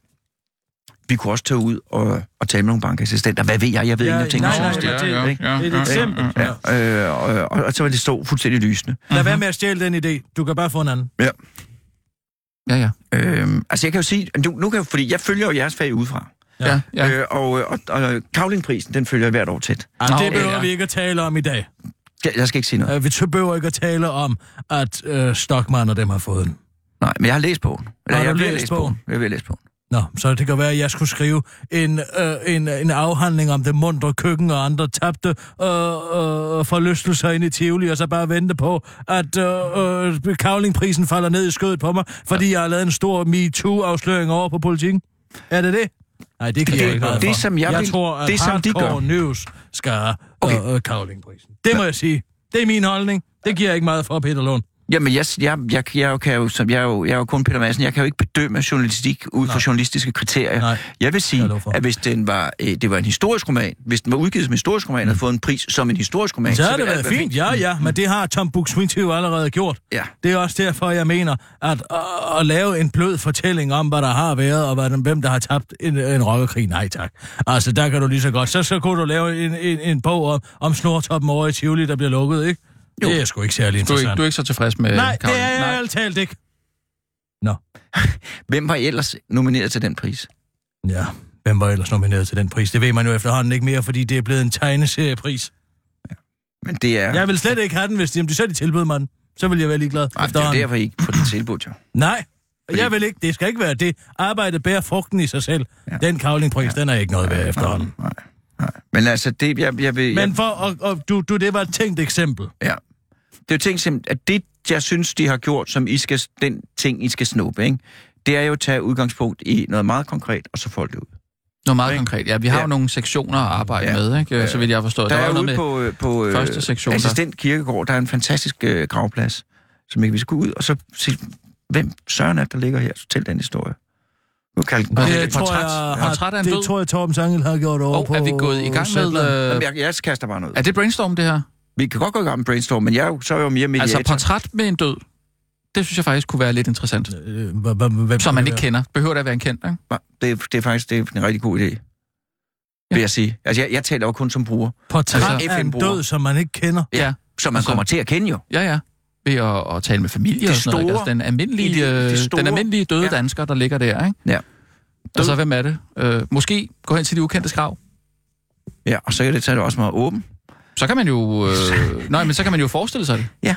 Speaker 2: Vi kunne også tage ud og, og tale med nogle bankassistenter. Hvad ved jeg? Jeg ved
Speaker 5: Ja,
Speaker 2: ja, ingenting om
Speaker 5: nej,
Speaker 2: sådan
Speaker 5: nej,
Speaker 2: noget.
Speaker 5: nej, det-
Speaker 2: ikke?
Speaker 4: ja,
Speaker 5: det er et
Speaker 4: ja,
Speaker 5: eksempel.
Speaker 4: ja, ja.
Speaker 5: nej.
Speaker 2: Ja, øh, og, og, og så vil det stå fuldstændig lysende.
Speaker 5: Lad være med at stjæle den idé. Du kan bare få en anden.
Speaker 4: Ja, ja.
Speaker 2: Øh, altså jeg kan jo sige, nu, nu kan jeg, fordi jeg følger jo jeres fag udefra.
Speaker 5: Ja.
Speaker 4: ja, ja.
Speaker 2: Øh, og, og, og Kavlingprisen, den følger jeg hvert år tæt.
Speaker 5: Ah,
Speaker 4: Nå,
Speaker 5: det
Speaker 4: okay,
Speaker 5: behøver
Speaker 4: ja.
Speaker 5: vi ikke at tale om i dag.
Speaker 2: Jeg, jeg skal ikke sige noget.
Speaker 5: Uh, vi t- behøver ikke at tale om, at uh, Stockmann og dem har fået den.
Speaker 2: Nej, men jeg har læst bogen. Eller
Speaker 5: Har
Speaker 2: jeg
Speaker 5: du
Speaker 2: vil
Speaker 5: læst
Speaker 2: læse
Speaker 5: bogen?
Speaker 2: bogen. Jeg vil læse bogen.
Speaker 5: Nå, så det kan være, at jeg skulle skrive en, øh, en, en afhandling om det mundre køkken og andre tabte øh, øh, forlystelser ind i Tivoli, og så bare vente på, at øh, øh, kavlingprisen falder ned i skødet på mig, fordi jeg har lavet en stor MeToo-afsløring over på politikken. Er det det? Nej, det kan
Speaker 2: Det-
Speaker 5: jeg ikke noget
Speaker 2: det,
Speaker 5: for.
Speaker 2: som jeg
Speaker 5: jeg
Speaker 2: vil-
Speaker 5: tror, at
Speaker 2: det, som de gør.
Speaker 5: Hardcore News skal have
Speaker 2: Okay.
Speaker 5: øh, øh, kavlingprisen. Det må jeg sige. Det er min holdning. Det giver jeg ikke meget for, Peter Lund.
Speaker 2: Jamen, jeg, jeg, jeg, jeg, kan jo, som, jeg, er jo, jeg er jo kun Peter Madsen. Jeg kan jo ikke bedømme journalistik ud fra
Speaker 5: Nej.
Speaker 2: journalistiske kriterier.
Speaker 5: Nej.
Speaker 2: Jeg vil sige,
Speaker 5: Jeg lover for.
Speaker 2: at hvis den var, øh, det var en historisk roman, hvis den var udgivet som en historisk roman, og havde fået en pris som en historisk roman,
Speaker 5: Mm. Så har
Speaker 2: ville
Speaker 5: det
Speaker 2: alt
Speaker 5: været
Speaker 2: være
Speaker 5: fint, ja, ja, men det har Tom Buk jo allerede gjort.
Speaker 2: Ja.
Speaker 5: Det er også derfor, jeg mener, at at, at lave en blød fortælling om, hvad der har været, og hvad den, hvem der har tabt en, en rokkekrig, nej tak. Altså, der kan du lige så godt. Så, så kunne du lave en, en, en bog om, om snortoppen over i Tivoli, der bliver lukket, ikke? Jo. Det er sgu ikke særlig
Speaker 4: Du, er ikke,
Speaker 5: interessant.
Speaker 4: du er ikke så tilfreds med
Speaker 5: nej, det
Speaker 4: Caroline?
Speaker 5: er jeg
Speaker 4: Nej.
Speaker 5: ærligt talt ikke.
Speaker 2: Hvem var ellers nomineret til den pris?
Speaker 5: Ja, hvem var ellers nomineret til den pris? Det ved man jo efterhånden ikke mere, fordi det er blevet en tegneseriepris.
Speaker 2: Men det er...
Speaker 5: Ja. Jeg vil slet ikke have den, hvis de, om de selv tilbød mig den. Så vil jeg være ligeglad.
Speaker 2: Ej, det er jo
Speaker 5: efterhånden.
Speaker 2: derfor, I ikke får det tilbud, jo.
Speaker 5: Nej,
Speaker 2: Fordi-
Speaker 5: jeg vil ikke. Det skal ikke være det. Arbejdet bærer frugten i sig selv. Ja.
Speaker 2: Ja.
Speaker 5: Den kavlingpris, ja. den er ikke noget værd efterhånden.
Speaker 2: Nej, nej. Men altså, det, jeg, jeg vil...
Speaker 5: Men for, og, og, du, du, det var et tænkt eksempel.
Speaker 2: jeg, ja. Det er jo ting, som- at det, jeg synes, de har gjort, som I skal, den ting, I skal snuppe, ikke? det er jo at tage udgangspunkt i noget meget konkret, og så folde det ud.
Speaker 4: Noget meget konkret. Ja, vi har jo
Speaker 2: Ja.
Speaker 4: nogle sektioner at arbejde
Speaker 2: Ja.
Speaker 4: med, ikke? så vidt jeg forstår.
Speaker 2: Der, der
Speaker 4: var
Speaker 2: er
Speaker 4: noget
Speaker 2: ude
Speaker 4: med-
Speaker 2: på, øh, på øh,
Speaker 4: første sektion, der-
Speaker 2: assistent Kirkegård, der er en fantastisk øh, gravplads, som ikke vi skal ud, og så se, hvem søren er, det, der ligger her, så tæl den historie. Nu kalder den
Speaker 4: Hvad
Speaker 2: det
Speaker 4: er
Speaker 2: et
Speaker 5: Det tror
Speaker 2: portræt.
Speaker 5: jeg,
Speaker 2: Ja.
Speaker 5: har,
Speaker 4: Portræt af en
Speaker 5: det
Speaker 4: død.
Speaker 5: tror jeg, Torben Sangel har gjort over
Speaker 4: Åh,
Speaker 5: på...
Speaker 4: er vi gået i gang med...
Speaker 5: Zetland.
Speaker 2: Jamen,
Speaker 4: Øh,
Speaker 2: Jeg, jeg kaster bare noget.
Speaker 4: er det brainstorm, det her?
Speaker 2: Vi kan godt gå i gang med brainstorm, men jeg er jo, så er jeg jo mere mediator.
Speaker 4: Altså portræt med en død. Det synes jeg faktisk kunne være lidt interessant.
Speaker 5: Øh, hva- hva- hvem-
Speaker 4: Som man ikke kender. Behøver da at være en kendt, ikke?
Speaker 2: Nej, Det, er- det er faktisk det er en rigtig god idé, ja. vil jeg sige. Altså, jeg, jeg taler jo kun som bruger,
Speaker 5: Portræt
Speaker 2: Altså,
Speaker 5: af en
Speaker 2: FN-bruger.
Speaker 5: død, som man ikke kender.
Speaker 4: Ja.
Speaker 2: som
Speaker 4: Altså-
Speaker 2: man altså, kommer til at kende jo.
Speaker 4: Ja, ja. Ved at, at tale med familie
Speaker 2: De
Speaker 4: og sådan noget. ikke?
Speaker 2: store-
Speaker 4: Altså, den, almindelige,
Speaker 2: i de- de
Speaker 4: øh,
Speaker 2: store-
Speaker 4: den almindelige døde
Speaker 2: ja.
Speaker 4: dansker, der ligger der, ikke?
Speaker 2: Ja.
Speaker 4: Og så hvem er det? Øh, måske gå hen til de ukendte skrav.
Speaker 2: Ja, og så kan det tage det også meget åben.
Speaker 4: Så kan man jo... Øh, nej, men så kan man jo forestille sig det.
Speaker 2: Ja.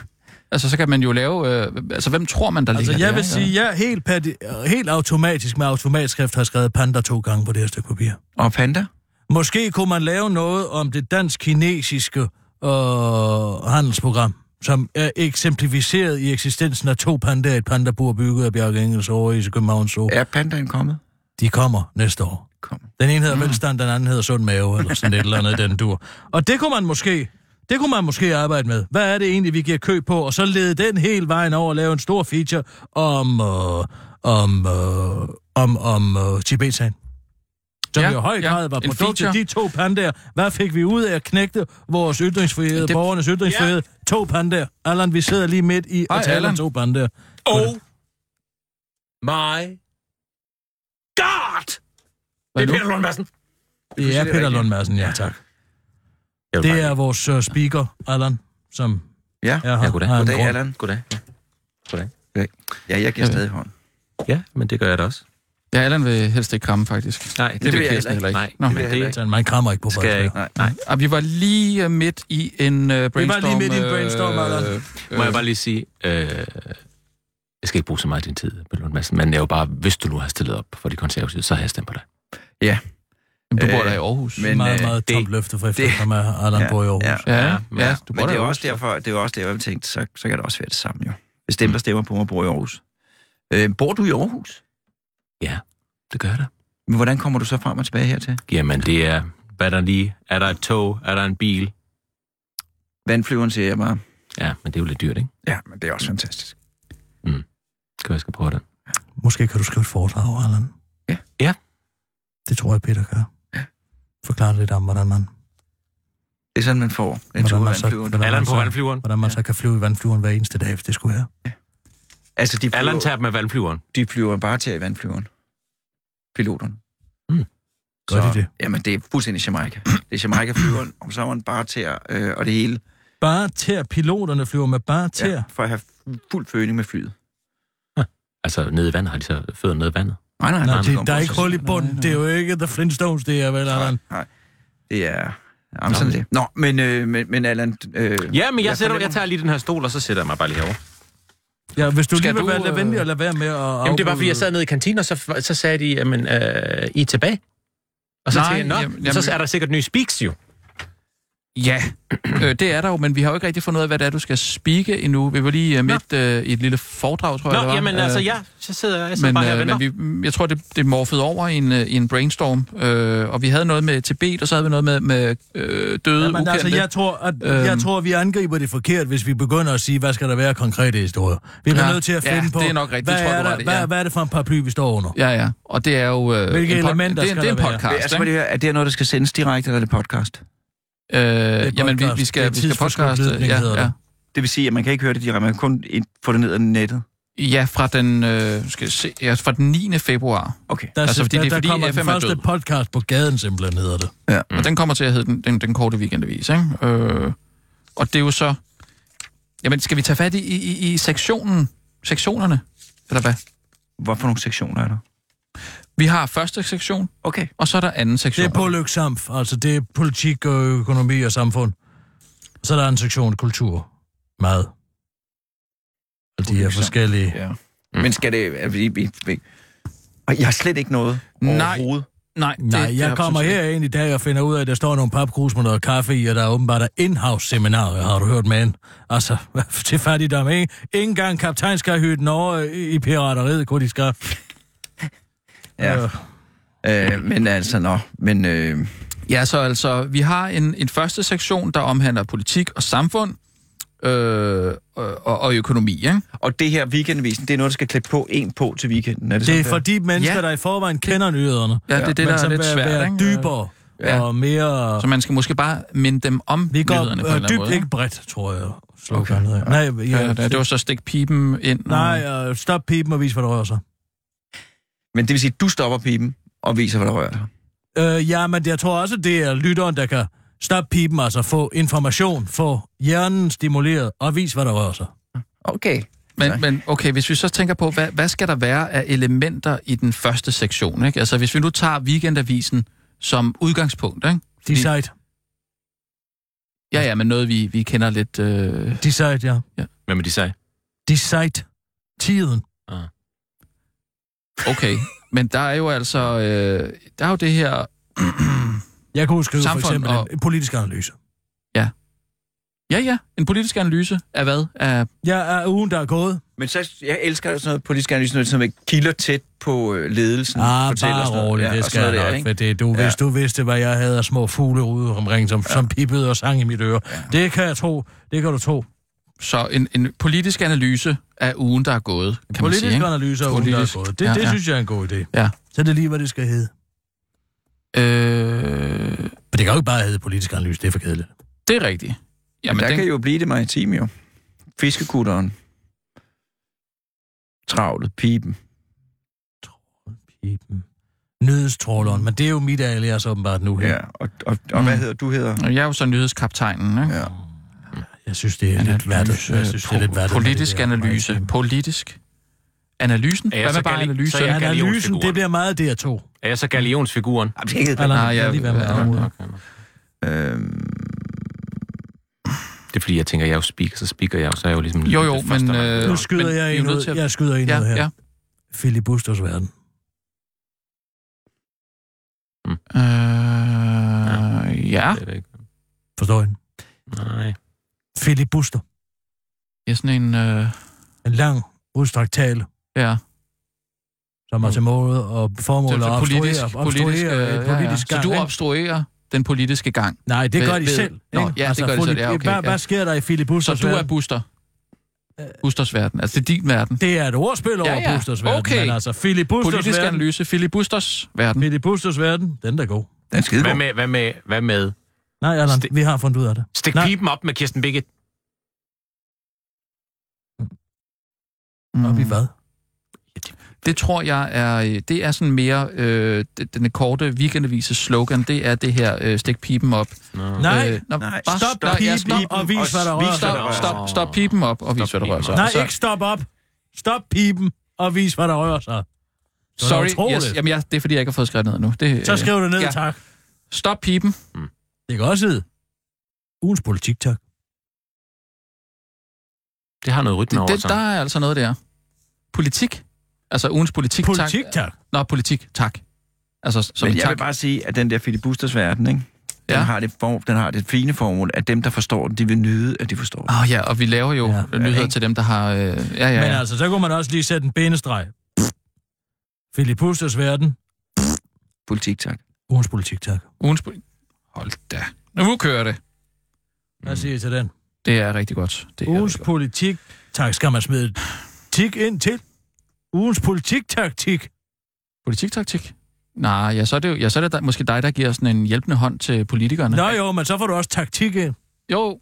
Speaker 4: Altså, så kan man jo lave... Øh, altså, hvem tror man, der
Speaker 5: Altså,
Speaker 4: ligger der,
Speaker 5: jeg vil
Speaker 4: ikke?
Speaker 5: sige, jeg helt, pat- helt automatisk med automatskrift har skrevet panda to gange på det her stykke papir.
Speaker 2: Og panda?
Speaker 5: Måske kunne man lave noget om det dansk-kinesiske øh, handelsprogram, som er eksemplificeret i eksistensen af to pandaer, i et pandabur bygget af Bjarke Engels over i Københavns Zoo.
Speaker 2: Er pandaen kommet?
Speaker 5: De kommer næste år.
Speaker 2: Kom.
Speaker 5: Den ene hedder mm. velstand, den anden hedder sund mave, eller sådan et eller andet i den dur. Og det kunne man måske... Det kunne man måske arbejde med. Hvad er det egentlig, vi giver køb på? Og så lede den hele vejen over og lave en stor feature om, øh, om, øh, om, om øh, Tibetsagen. Som
Speaker 4: Ja,
Speaker 5: ja, i høj
Speaker 4: ja,
Speaker 5: grad var
Speaker 4: en
Speaker 5: produktet
Speaker 4: feature.
Speaker 5: af de to pandaer. Hvad fik vi ud af at knægte vores ytringsfrihed,
Speaker 4: Det-
Speaker 5: det... borgernes ytringsfrihed? Ja. To pandaer. Allan, vi sidder lige midt i
Speaker 4: Hej,
Speaker 5: at tale
Speaker 4: Allan.
Speaker 5: om to pandaer.
Speaker 6: Oh my god! Det
Speaker 4: Hvad
Speaker 6: er
Speaker 4: nu?
Speaker 6: Peter Lund Madsen.
Speaker 5: Det er
Speaker 2: det
Speaker 5: Peter
Speaker 2: rigtigt.
Speaker 5: Lund Madsen, ja tak.
Speaker 6: Jeg vil
Speaker 5: Det
Speaker 6: bare-
Speaker 5: er vores uh, speaker, Allan, som
Speaker 2: Ja.
Speaker 5: er her.
Speaker 6: Ja, goddag.
Speaker 5: Har en
Speaker 2: Goddag,
Speaker 5: grund.
Speaker 2: Allan.
Speaker 6: Goddag.
Speaker 2: Ja, jeg giver
Speaker 4: Ja.
Speaker 2: stadig hånd.
Speaker 6: Ja, men det gør jeg da også.
Speaker 4: Ja, Allan vil helst ikke kramme, faktisk.
Speaker 6: Nej, det,
Speaker 4: vil
Speaker 6: vil jeg
Speaker 4: Kirsten
Speaker 6: heller ikke.
Speaker 4: heller ikke.
Speaker 6: Nej,
Speaker 4: Nå.
Speaker 6: men
Speaker 2: Det vil jeg
Speaker 6: det
Speaker 5: Så man krammer ikke på folk.
Speaker 6: skal jeg ikke.
Speaker 2: Nej.
Speaker 6: Nej.
Speaker 4: Og vi var lige øh, midt i en øh, brainstorm.
Speaker 5: midt i en brainstorm,
Speaker 4: øh,
Speaker 5: Allan.
Speaker 6: Må jeg bare lige sige, øh, Jeg skal ikke bruge så meget af din tid, Bølle Lund Madsen, men jeg er jo bare, hvis du nu har stillet op for de konservative, så har jeg stemt på dig.
Speaker 4: Jamen, Du bor
Speaker 2: Øh,
Speaker 4: der i Aarhus.
Speaker 2: men,
Speaker 5: Men, meget,
Speaker 2: øh,
Speaker 5: meget tomt
Speaker 2: det-
Speaker 5: løfte fra efter, som er øh, Allan bor i Aarhus.
Speaker 2: ja.
Speaker 4: ja, ja,
Speaker 6: men-
Speaker 4: ja, du bor
Speaker 2: Men
Speaker 4: der
Speaker 2: det er,
Speaker 4: i
Speaker 2: jo
Speaker 4: Aarhus.
Speaker 2: også derfor, det er jo også derfor, jeg tænkte, så, så kan det også være det samme jo. Hvis dem, der stemmer på mig, bor i Aarhus. Øh, bor du i Aarhus?
Speaker 6: Det gør jeg da.
Speaker 2: Men hvordan kommer du så frem og tilbage hertil?
Speaker 6: Jamen, det er, hvad er der lige? Er der et tog? Er der en bil?
Speaker 2: Vandflyveren siger jeg bare.
Speaker 6: Ja, men det er jo lidt dyrt, ikke?
Speaker 2: Ja, men det er også fantastisk.
Speaker 6: Det kan jeg skal prøve det.
Speaker 5: Måske kan du skrive et foredrag, Allan.
Speaker 2: Ja.
Speaker 6: Ja.
Speaker 5: Det tror jeg, Peter gør. Forklare lidt om, hvordan man,
Speaker 2: Det er sådan, man får en tur
Speaker 5: Hvordan
Speaker 2: i
Speaker 5: man så-
Speaker 2: vandflyveren.
Speaker 5: hvordan-
Speaker 6: Allan på
Speaker 5: så-
Speaker 6: vandflyveren.
Speaker 5: hvordan man så kan flyve i vandflyveren hver eneste dag, hvis det skulle være.
Speaker 2: Altså, de
Speaker 6: Allan
Speaker 2: flyver,
Speaker 6: tager med vandflyveren.
Speaker 2: de flyver bare til i vandflyveren. Piloterne.
Speaker 5: Gør de det?
Speaker 2: Jamen, det er fuldstændig Jamaica. Det er Jamaica-flyveren om sommeren, bare til øh, og det hele.
Speaker 5: Bare tæer. Piloterne flyver med bare tæer. Ja.
Speaker 2: for at have fuld føling med flyet.
Speaker 6: Altså, nede i vandet har de så fødder nede i vandet.
Speaker 2: Nej, nej,
Speaker 5: Nej,
Speaker 2: nej.
Speaker 5: det, der er ikke hul i bunden. Det er jo ikke The Flintstones, det er vel,
Speaker 2: Nej,
Speaker 5: Allan.
Speaker 2: nej. Det er... Jamen, sådan er det. Nå, men, øh, men, men Allan... Øh,
Speaker 6: Ja, men jeg, sætter,
Speaker 2: fornemmer-
Speaker 6: jeg tager lige den her stol, og så sætter jeg mig bare lige herovre.
Speaker 5: Ja, hvis du
Speaker 4: Skal
Speaker 5: lige vil
Speaker 4: du,
Speaker 5: være lad
Speaker 4: øh,
Speaker 5: venlig og lade være med at...
Speaker 6: Jamen, det var, fordi jeg sad nede i kantinen, og så, så sagde de, jamen, øh, I er tilbage. Og så
Speaker 4: Nej,
Speaker 6: tænkte jeg, nå,
Speaker 4: jamen,
Speaker 6: jamen, så
Speaker 4: jamen-
Speaker 6: er der sikkert nye speaks jo.
Speaker 4: Ja, øh, det er der jo, men vi har jo ikke rigtig fundet ud af, hvad det er, du skal speake endnu. Vi var lige øh, midt øh, i et lille foredrag, tror jeg, det
Speaker 6: Nå,
Speaker 4: var.
Speaker 6: jamen,
Speaker 4: Øh,
Speaker 6: altså, ja, så sidder jeg, jeg sidder
Speaker 4: Men,
Speaker 6: bare her og
Speaker 4: øh,
Speaker 6: venter.
Speaker 4: men vi, mm, jeg tror, det, det morfede over i en, øh, i en brainstorm. Øh, og vi havde noget med Tibet, og så havde vi noget med, med øh, døde
Speaker 5: Jamen,
Speaker 4: ukendte.
Speaker 5: altså, jeg tror, at, øhm. jeg
Speaker 4: Øhm.
Speaker 5: tror, vi angriber det forkert, hvis vi begynder at sige, hvad skal der være konkrete historier. Vi er
Speaker 4: Ja,
Speaker 5: ja, nødt til at
Speaker 4: ja,
Speaker 5: finde på,
Speaker 4: det er nok rigtigt,
Speaker 5: hvad,
Speaker 4: det tror jeg,
Speaker 5: er
Speaker 4: du
Speaker 5: der,
Speaker 4: har ret i,
Speaker 5: hvad,
Speaker 4: ja.
Speaker 5: hvad er det for en paraply, vi står under?
Speaker 4: Ja, ja. Og det er jo... Øh,
Speaker 5: Hvilke
Speaker 4: en pod- det,
Speaker 5: elementer
Speaker 4: er-
Speaker 5: skal
Speaker 4: det er en
Speaker 5: der være?
Speaker 2: Men,
Speaker 4: podcast,
Speaker 2: altså, må det høre, er det her noget, der skal sendes direkte, eller er det podcast?
Speaker 4: ikke? Øh,
Speaker 5: podcast.
Speaker 4: jamen, vi, vi
Speaker 5: Det
Speaker 4: skal, vi
Speaker 5: er
Speaker 4: skal
Speaker 5: tidsforskudt
Speaker 4: podcaste.
Speaker 5: lydning,
Speaker 4: Ja,
Speaker 5: hedder det.
Speaker 4: ja.
Speaker 2: Det vil sige, at man kan ikke høre det direkte, man kan kun ind- få det ned ad nettet.
Speaker 4: ja, fra den, øh, skal jeg se, ja, fra den 9. februar.
Speaker 2: Okay.
Speaker 5: Der,
Speaker 4: Altså,
Speaker 5: altså,
Speaker 4: fordi
Speaker 5: der,
Speaker 4: det er
Speaker 5: der
Speaker 4: fordi,
Speaker 5: kommer
Speaker 4: FM
Speaker 5: den
Speaker 4: er
Speaker 5: første
Speaker 4: død.
Speaker 5: podcast på gaden, simpelthen hedder det.
Speaker 4: Mm. Og den kommer til at hedde den, den, den korte weekendavis, ikke? Øh, og det er jo så... Jamen, skal vi tage fat i, i, i- i sektionen? Sektionerne? Eller hvad?
Speaker 2: Hvorfor nogle sektioner er der?
Speaker 4: Vi har første sektion,
Speaker 2: Okay.
Speaker 4: og så er der anden
Speaker 5: Det
Speaker 4: sektion.
Speaker 5: er pålyk samf, altså det er politik, og økonomi og samfund. Så er der en sektion kultur, mad. Og de er
Speaker 2: Pålæg Samf.
Speaker 5: forskellige.
Speaker 2: Ja. Men skal det... Er vi, vi, vi... Og jeg har slet ikke noget
Speaker 4: Nej.
Speaker 2: overhovedet.
Speaker 4: Nej, det,
Speaker 5: Nej,
Speaker 4: det
Speaker 5: jeg
Speaker 4: er
Speaker 5: kommer
Speaker 4: absolut-
Speaker 5: her ind i dag og finder ud af, at der står nogle papkrus med noget kaffe i, og der er åbenbart der in-house seminarer, har du hørt, mand? Altså, [LAUGHS] til fattigdom, ikke? Ingen gang kaptajn skal hytte den over i i pirateriet, kunne de skaffe.
Speaker 2: Ja.
Speaker 5: Øh,
Speaker 2: Øh, men altså, nå. Men, øh,
Speaker 4: Ja, så altså, vi har en, en første sektion, der omhandler politik og samfund øh, og, og, og økonomi, ikke?
Speaker 2: og det her weekendavisen, det er noget, der skal klippe på en på til weekenden. Er
Speaker 5: Det
Speaker 2: det, sådan,
Speaker 5: er for de mennesker,
Speaker 4: Ja.
Speaker 5: der i forvejen kender nyhederne.
Speaker 4: Ja, det er det, der
Speaker 5: men
Speaker 4: er
Speaker 5: som
Speaker 4: lidt
Speaker 5: vil
Speaker 4: svært,
Speaker 5: være
Speaker 4: ikke?
Speaker 5: dybere
Speaker 4: Ja.
Speaker 5: og mere...
Speaker 4: Så man skal måske bare minde dem om
Speaker 5: Vi går
Speaker 4: nyhederne på en eller
Speaker 5: øh,
Speaker 4: anden
Speaker 5: dybt,
Speaker 4: måde.
Speaker 5: ikke
Speaker 4: ikke?
Speaker 5: bredt, tror jeg. Okay. Nej, ja,
Speaker 4: Ja, ja, det var så stik pipen ind. og-
Speaker 5: Nej, øh, stop pipen og vis, hvad der rører sig.
Speaker 2: Men det vil sige, at du stopper pipen og viser, hvad der rører dig.
Speaker 5: Øh, ja, men jeg tror også, det er lytteren, der kan stoppe pipen, altså få information, få hjernen stimuleret og vise, hvad der rører sig.
Speaker 2: Okay.
Speaker 4: Men, men okay, hvis vi så tænker på, hvad, hvad skal der være af elementer i den første sektion? Ikke? Altså hvis vi nu tager weekendavisen som udgangspunkt, ikke?
Speaker 5: Decide.
Speaker 4: ja ja, men noget vi, vi kender lidt... Øh,
Speaker 5: Decide, ja.
Speaker 6: Hvad med de sag?
Speaker 5: Decide. Tiden.
Speaker 2: [LAUGHS]
Speaker 4: okay, men der er jo altså... Øh, der er jo det her...
Speaker 5: Jeg kunne skrive for
Speaker 4: Samfund
Speaker 5: eksempel
Speaker 4: og-
Speaker 5: og... en politisk analyse.
Speaker 4: Ja ja, en politisk analyse af hvad? Af,
Speaker 5: Ja, er ugen, der er gået.
Speaker 2: Men så, jeg elsker sådan noget politisk analyse, noget, som kilder tæt på øh, ledelsen.
Speaker 5: Ah,
Speaker 2: fortæller sådan
Speaker 5: bare
Speaker 2: noget.
Speaker 5: roligt,
Speaker 2: Ja,
Speaker 5: ja, det
Speaker 2: og
Speaker 5: skal
Speaker 2: sådan noget
Speaker 5: jeg
Speaker 2: der,
Speaker 5: nok,
Speaker 2: ikke?
Speaker 5: for det, du, ja. hvis du vidste, hvad jeg havde af små fugle ude omkring, som, ja. som pippede og sang i mit øre. Ja. Det kan jeg tro, det kan du tro.
Speaker 4: så en, en politisk analyse af ugen, der er gået, kan man
Speaker 5: Politisk
Speaker 4: sige. Ikke?
Speaker 5: analyse af ugen, der
Speaker 4: Politisk.
Speaker 5: er gået. Det,
Speaker 4: Ja,
Speaker 5: det
Speaker 4: ja.
Speaker 5: synes jeg er en god idé.
Speaker 4: Ja.
Speaker 5: Så er det lige, hvad det skal hedde.
Speaker 4: Øh,
Speaker 5: Men det kan jo ikke bare hedde politisk analyse, det er for kedeligt.
Speaker 4: det er rigtigt.
Speaker 2: Men
Speaker 4: Jamen,
Speaker 2: der
Speaker 4: den,
Speaker 2: kan jo blive det maritime jo. Fiskekutteren. Travlet, pipen.
Speaker 5: Pipen. Nødestråleren, men det er jo mit alias åbenbart nu her.
Speaker 2: Ja, og, og, og mm. hvad hedder du hedder?
Speaker 4: jeg er jo så nyhedskaptajnen, ikke?
Speaker 2: Ja.
Speaker 5: Jeg synes, det er lidt værdigt. Jeg synes, det er lidt værdigt.
Speaker 4: Politisk
Speaker 5: med det der.
Speaker 4: analyse. Politisk. Analysen?
Speaker 6: Ja, ja,
Speaker 4: Hvad
Speaker 6: så
Speaker 4: med bare
Speaker 6: kan jeg lige-
Speaker 4: analyse?
Speaker 6: så jeg kan-
Speaker 5: Analysen,
Speaker 6: Galionsfiguren.
Speaker 5: det bliver meget DR2.
Speaker 6: Er jeg så galionsfiguren?
Speaker 2: Jamen, det er ikke-
Speaker 5: Eller,
Speaker 4: Nej, jeg,
Speaker 5: lige være med
Speaker 4: ja,
Speaker 5: dig.
Speaker 4: okay.
Speaker 2: Øhm,
Speaker 6: Det er fordi, jeg tænker, jeg er jo speaker, så speaker jeg jo, så er jeg jo ligesom...
Speaker 4: Jo, jo,
Speaker 6: lidt først,
Speaker 4: men,
Speaker 6: der er-
Speaker 4: øh,
Speaker 5: Nu skyder
Speaker 4: men
Speaker 5: jeg
Speaker 4: vi er
Speaker 5: en
Speaker 4: nødt
Speaker 5: ud,
Speaker 4: til at-
Speaker 5: jeg skyder en
Speaker 4: Ja,
Speaker 5: ud her.
Speaker 4: ja.
Speaker 5: Filibusters verden.
Speaker 4: Øh, ja.
Speaker 6: Det er det ikke.
Speaker 5: Forstår I?
Speaker 6: Nej.
Speaker 5: Filibuster.
Speaker 4: Ja, sådan en... Øh,
Speaker 5: En lang, udstrakt tale,
Speaker 4: ja.
Speaker 5: som har til måde og formål at
Speaker 4: Mm. Det er
Speaker 5: obstruere,
Speaker 4: politisk,
Speaker 5: obstruere
Speaker 4: politisk, øh,
Speaker 5: et
Speaker 4: ja, ja.
Speaker 5: politisk
Speaker 4: Så
Speaker 5: gang,
Speaker 4: du
Speaker 5: ikke?
Speaker 4: obstruerer den politiske gang.
Speaker 5: Nej, det
Speaker 4: Ved-
Speaker 5: gør de
Speaker 4: ved-
Speaker 5: selv.
Speaker 4: Nå,
Speaker 5: ikke? Altså,
Speaker 4: ja, det gør de selv, ja, okay,
Speaker 5: hvad,
Speaker 4: ja.
Speaker 5: hvad sker der i
Speaker 4: Så
Speaker 5: Filibusters
Speaker 4: du er
Speaker 5: verden?
Speaker 4: Buster.
Speaker 5: Øh.
Speaker 4: Busters verden. Altså, det er din verden.
Speaker 5: Det er et ordspil over
Speaker 4: Ja, ja.
Speaker 5: Busters verden,
Speaker 4: Okay.
Speaker 5: men altså Filibusters
Speaker 4: Politisk
Speaker 5: verden.
Speaker 4: analyse. Filibusters verden.
Speaker 5: Filibusters verden, den der er god.
Speaker 2: Den er skide
Speaker 6: Hvad med, hvad med, hvad med?
Speaker 5: Nej, Allan,
Speaker 6: Stik-
Speaker 5: vi har fundet ud af det.
Speaker 6: Stik
Speaker 5: Nej.
Speaker 6: pipen op med Kirsten Birgit.
Speaker 5: Mm. Op i hvad?
Speaker 4: Det tror jeg er, øh, det er sådan mere, øh, det- den korte weekendavise slogan, det er det her, øh, stik pipen op.
Speaker 6: Nå.
Speaker 5: Nej.
Speaker 4: nå,
Speaker 2: Nej,
Speaker 4: Øh, bare
Speaker 5: stop
Speaker 4: nej, ja,
Speaker 5: pipen op og vis, hvad der rører
Speaker 2: vis, hvad
Speaker 4: Stop, stop,
Speaker 2: der rører sig.
Speaker 4: stop, stop pipen op og vis, hvad der rører sig.
Speaker 6: pipen
Speaker 5: Nej,
Speaker 4: altså. Så-
Speaker 5: ikke stop op. Stop pipen og vis, hvad der rører sig. Det var da
Speaker 4: Sorry,
Speaker 5: utroligt.
Speaker 4: yes, jamen, jeg, det er fordi, jeg ikke har fået skrevet ned nu. Det,
Speaker 5: Så
Speaker 4: øh,
Speaker 5: skriv det ned,
Speaker 4: ja.
Speaker 5: tak.
Speaker 4: Stop pipen.
Speaker 5: Det kan også hedde. Ugens politik, tak.
Speaker 6: Det har noget rytme
Speaker 4: Det,
Speaker 6: over
Speaker 4: det,
Speaker 6: sig.
Speaker 4: der er altså noget der. Politik. Altså ugens politik.
Speaker 5: Politik,
Speaker 4: tak.
Speaker 5: tak.
Speaker 4: Nå, politik, tak. Altså, som
Speaker 2: Men
Speaker 4: Men
Speaker 2: jeg
Speaker 4: tak.
Speaker 2: vil bare sige, at den der filibusters verden, ikke? Den,
Speaker 4: Ja.
Speaker 2: ja. har det form, den har det fine formål, at dem, der forstår den, de vil nyde, at de forstår den.
Speaker 4: Åh oh, ja, og vi laver jo
Speaker 5: Ja.
Speaker 4: ja, nyheder
Speaker 2: Ja,
Speaker 4: til dem, der har... Øh, ja, ja,
Speaker 5: Men
Speaker 4: ja.
Speaker 5: altså, så kunne man også lige sætte en benestreg. Filibusters verden.
Speaker 2: Politik, tak.
Speaker 5: Ugens politik, tak.
Speaker 4: Ugens politik. Hold da. Nu kører det.
Speaker 5: Hvad siger I til den?
Speaker 4: Det er rigtig godt. Det er
Speaker 5: Ugens
Speaker 4: rigtig godt.
Speaker 5: politik. Tak, skal man smide et tik ind til? Ugens politik-taktik.
Speaker 4: Politiktaktik. Nej, ja, så er det, jo, ja, så er det der, måske dig, der giver sådan en hjælpende hånd til politikerne.
Speaker 5: Nå jo, men så får du også taktik ind.
Speaker 4: Jo,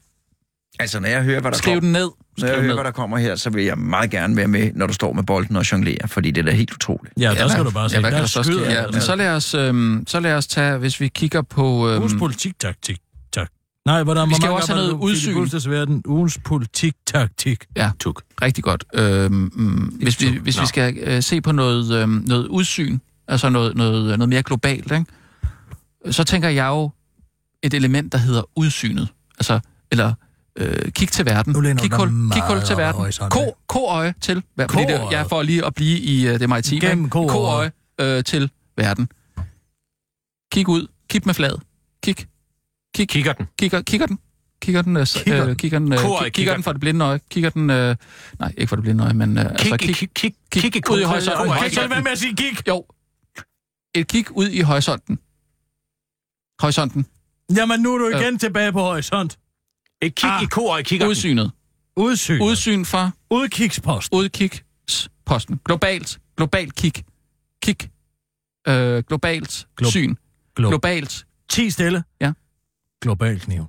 Speaker 2: Altså, når jeg hører, hvad der,
Speaker 4: skriv
Speaker 2: kom,
Speaker 4: den ned.
Speaker 2: når jeg
Speaker 4: Skriv den
Speaker 2: hører,
Speaker 4: ned.
Speaker 2: hvad der kommer her, så vil jeg meget gerne være med, når du står med bolden og jonglerer, fordi det er da helt utroligt.
Speaker 5: Ja, der Altså, skal du bare
Speaker 4: Ja,
Speaker 5: sige.
Speaker 4: hvad kan der så ske?
Speaker 5: skyder
Speaker 4: Ja,
Speaker 5: jeg.
Speaker 4: men så lad, os, øhm, så lad os tage, hvis vi kigger på... Øhm,
Speaker 5: Ugens politik-taktik. Tak. Nej, hvordan,
Speaker 4: Vi skal
Speaker 5: hvor mange
Speaker 4: også
Speaker 5: gange
Speaker 4: have noget
Speaker 5: var det nu?
Speaker 4: udsyn.
Speaker 5: Filibusters verden. Ugens politik-taktik.
Speaker 4: Ja,
Speaker 6: Tuk.
Speaker 4: rigtig godt. Øhm, mm, hvis vi,
Speaker 6: tuk.
Speaker 4: hvis vi
Speaker 6: Nå.
Speaker 4: skal øh, se på noget, øhm, noget udsyn, altså noget, noget, noget mere globalt, ikke? så tænker jeg jo et element, der hedder udsynet. Altså, eller øh, kig til verden.
Speaker 5: Nu læner du dig
Speaker 4: Kighul,
Speaker 5: meget
Speaker 4: kighul til
Speaker 5: op ad
Speaker 4: verden.
Speaker 5: horisonten.
Speaker 4: Ko, koøje til verden. Fordi det,
Speaker 5: Koøjet.
Speaker 4: jeg får lige at blive i øh, det maritime.
Speaker 5: Gennem
Speaker 4: ikke?
Speaker 5: koøjet.
Speaker 4: Koøje øh, til verden. Kig ud. Kig med flad. Kig. Kig.
Speaker 6: Kigger den.
Speaker 4: Kigger, kigger den? Kigger den, øh, s-
Speaker 5: Kigger
Speaker 4: øh,
Speaker 5: den?
Speaker 4: kigger den, øh,
Speaker 6: Koret
Speaker 4: kigger,
Speaker 6: kigger
Speaker 4: kigger den for det blinde øje, kigger den, øh, nej, ikke for det blinde øje, men øh, altså
Speaker 6: Kig, kig,
Speaker 4: kig,
Speaker 6: kig, kig,
Speaker 4: kig-
Speaker 6: kig, i
Speaker 4: ud i
Speaker 6: koret.
Speaker 4: horisonten.
Speaker 6: Koret
Speaker 4: Kan
Speaker 5: Kan
Speaker 4: I
Speaker 5: I så
Speaker 6: kigger
Speaker 5: lade være med at sige gik?
Speaker 4: jo, et kig ud i horisonten. Horisonten.
Speaker 5: Jamen, nu er du igen tilbage på horisont.
Speaker 6: den. Et kig
Speaker 5: Ah.
Speaker 6: i koret, kigger den.
Speaker 4: Udsynet.
Speaker 5: Udsyn.
Speaker 4: Udsyn fra
Speaker 5: Udkigspost.
Speaker 4: udkigsposten. Globalt. Globalt kig. Kig. Øh, globalt
Speaker 5: Glo-
Speaker 4: syn.
Speaker 5: Glo-
Speaker 4: Globalt.
Speaker 5: Ti stille.
Speaker 4: Ja.
Speaker 5: Global kniv.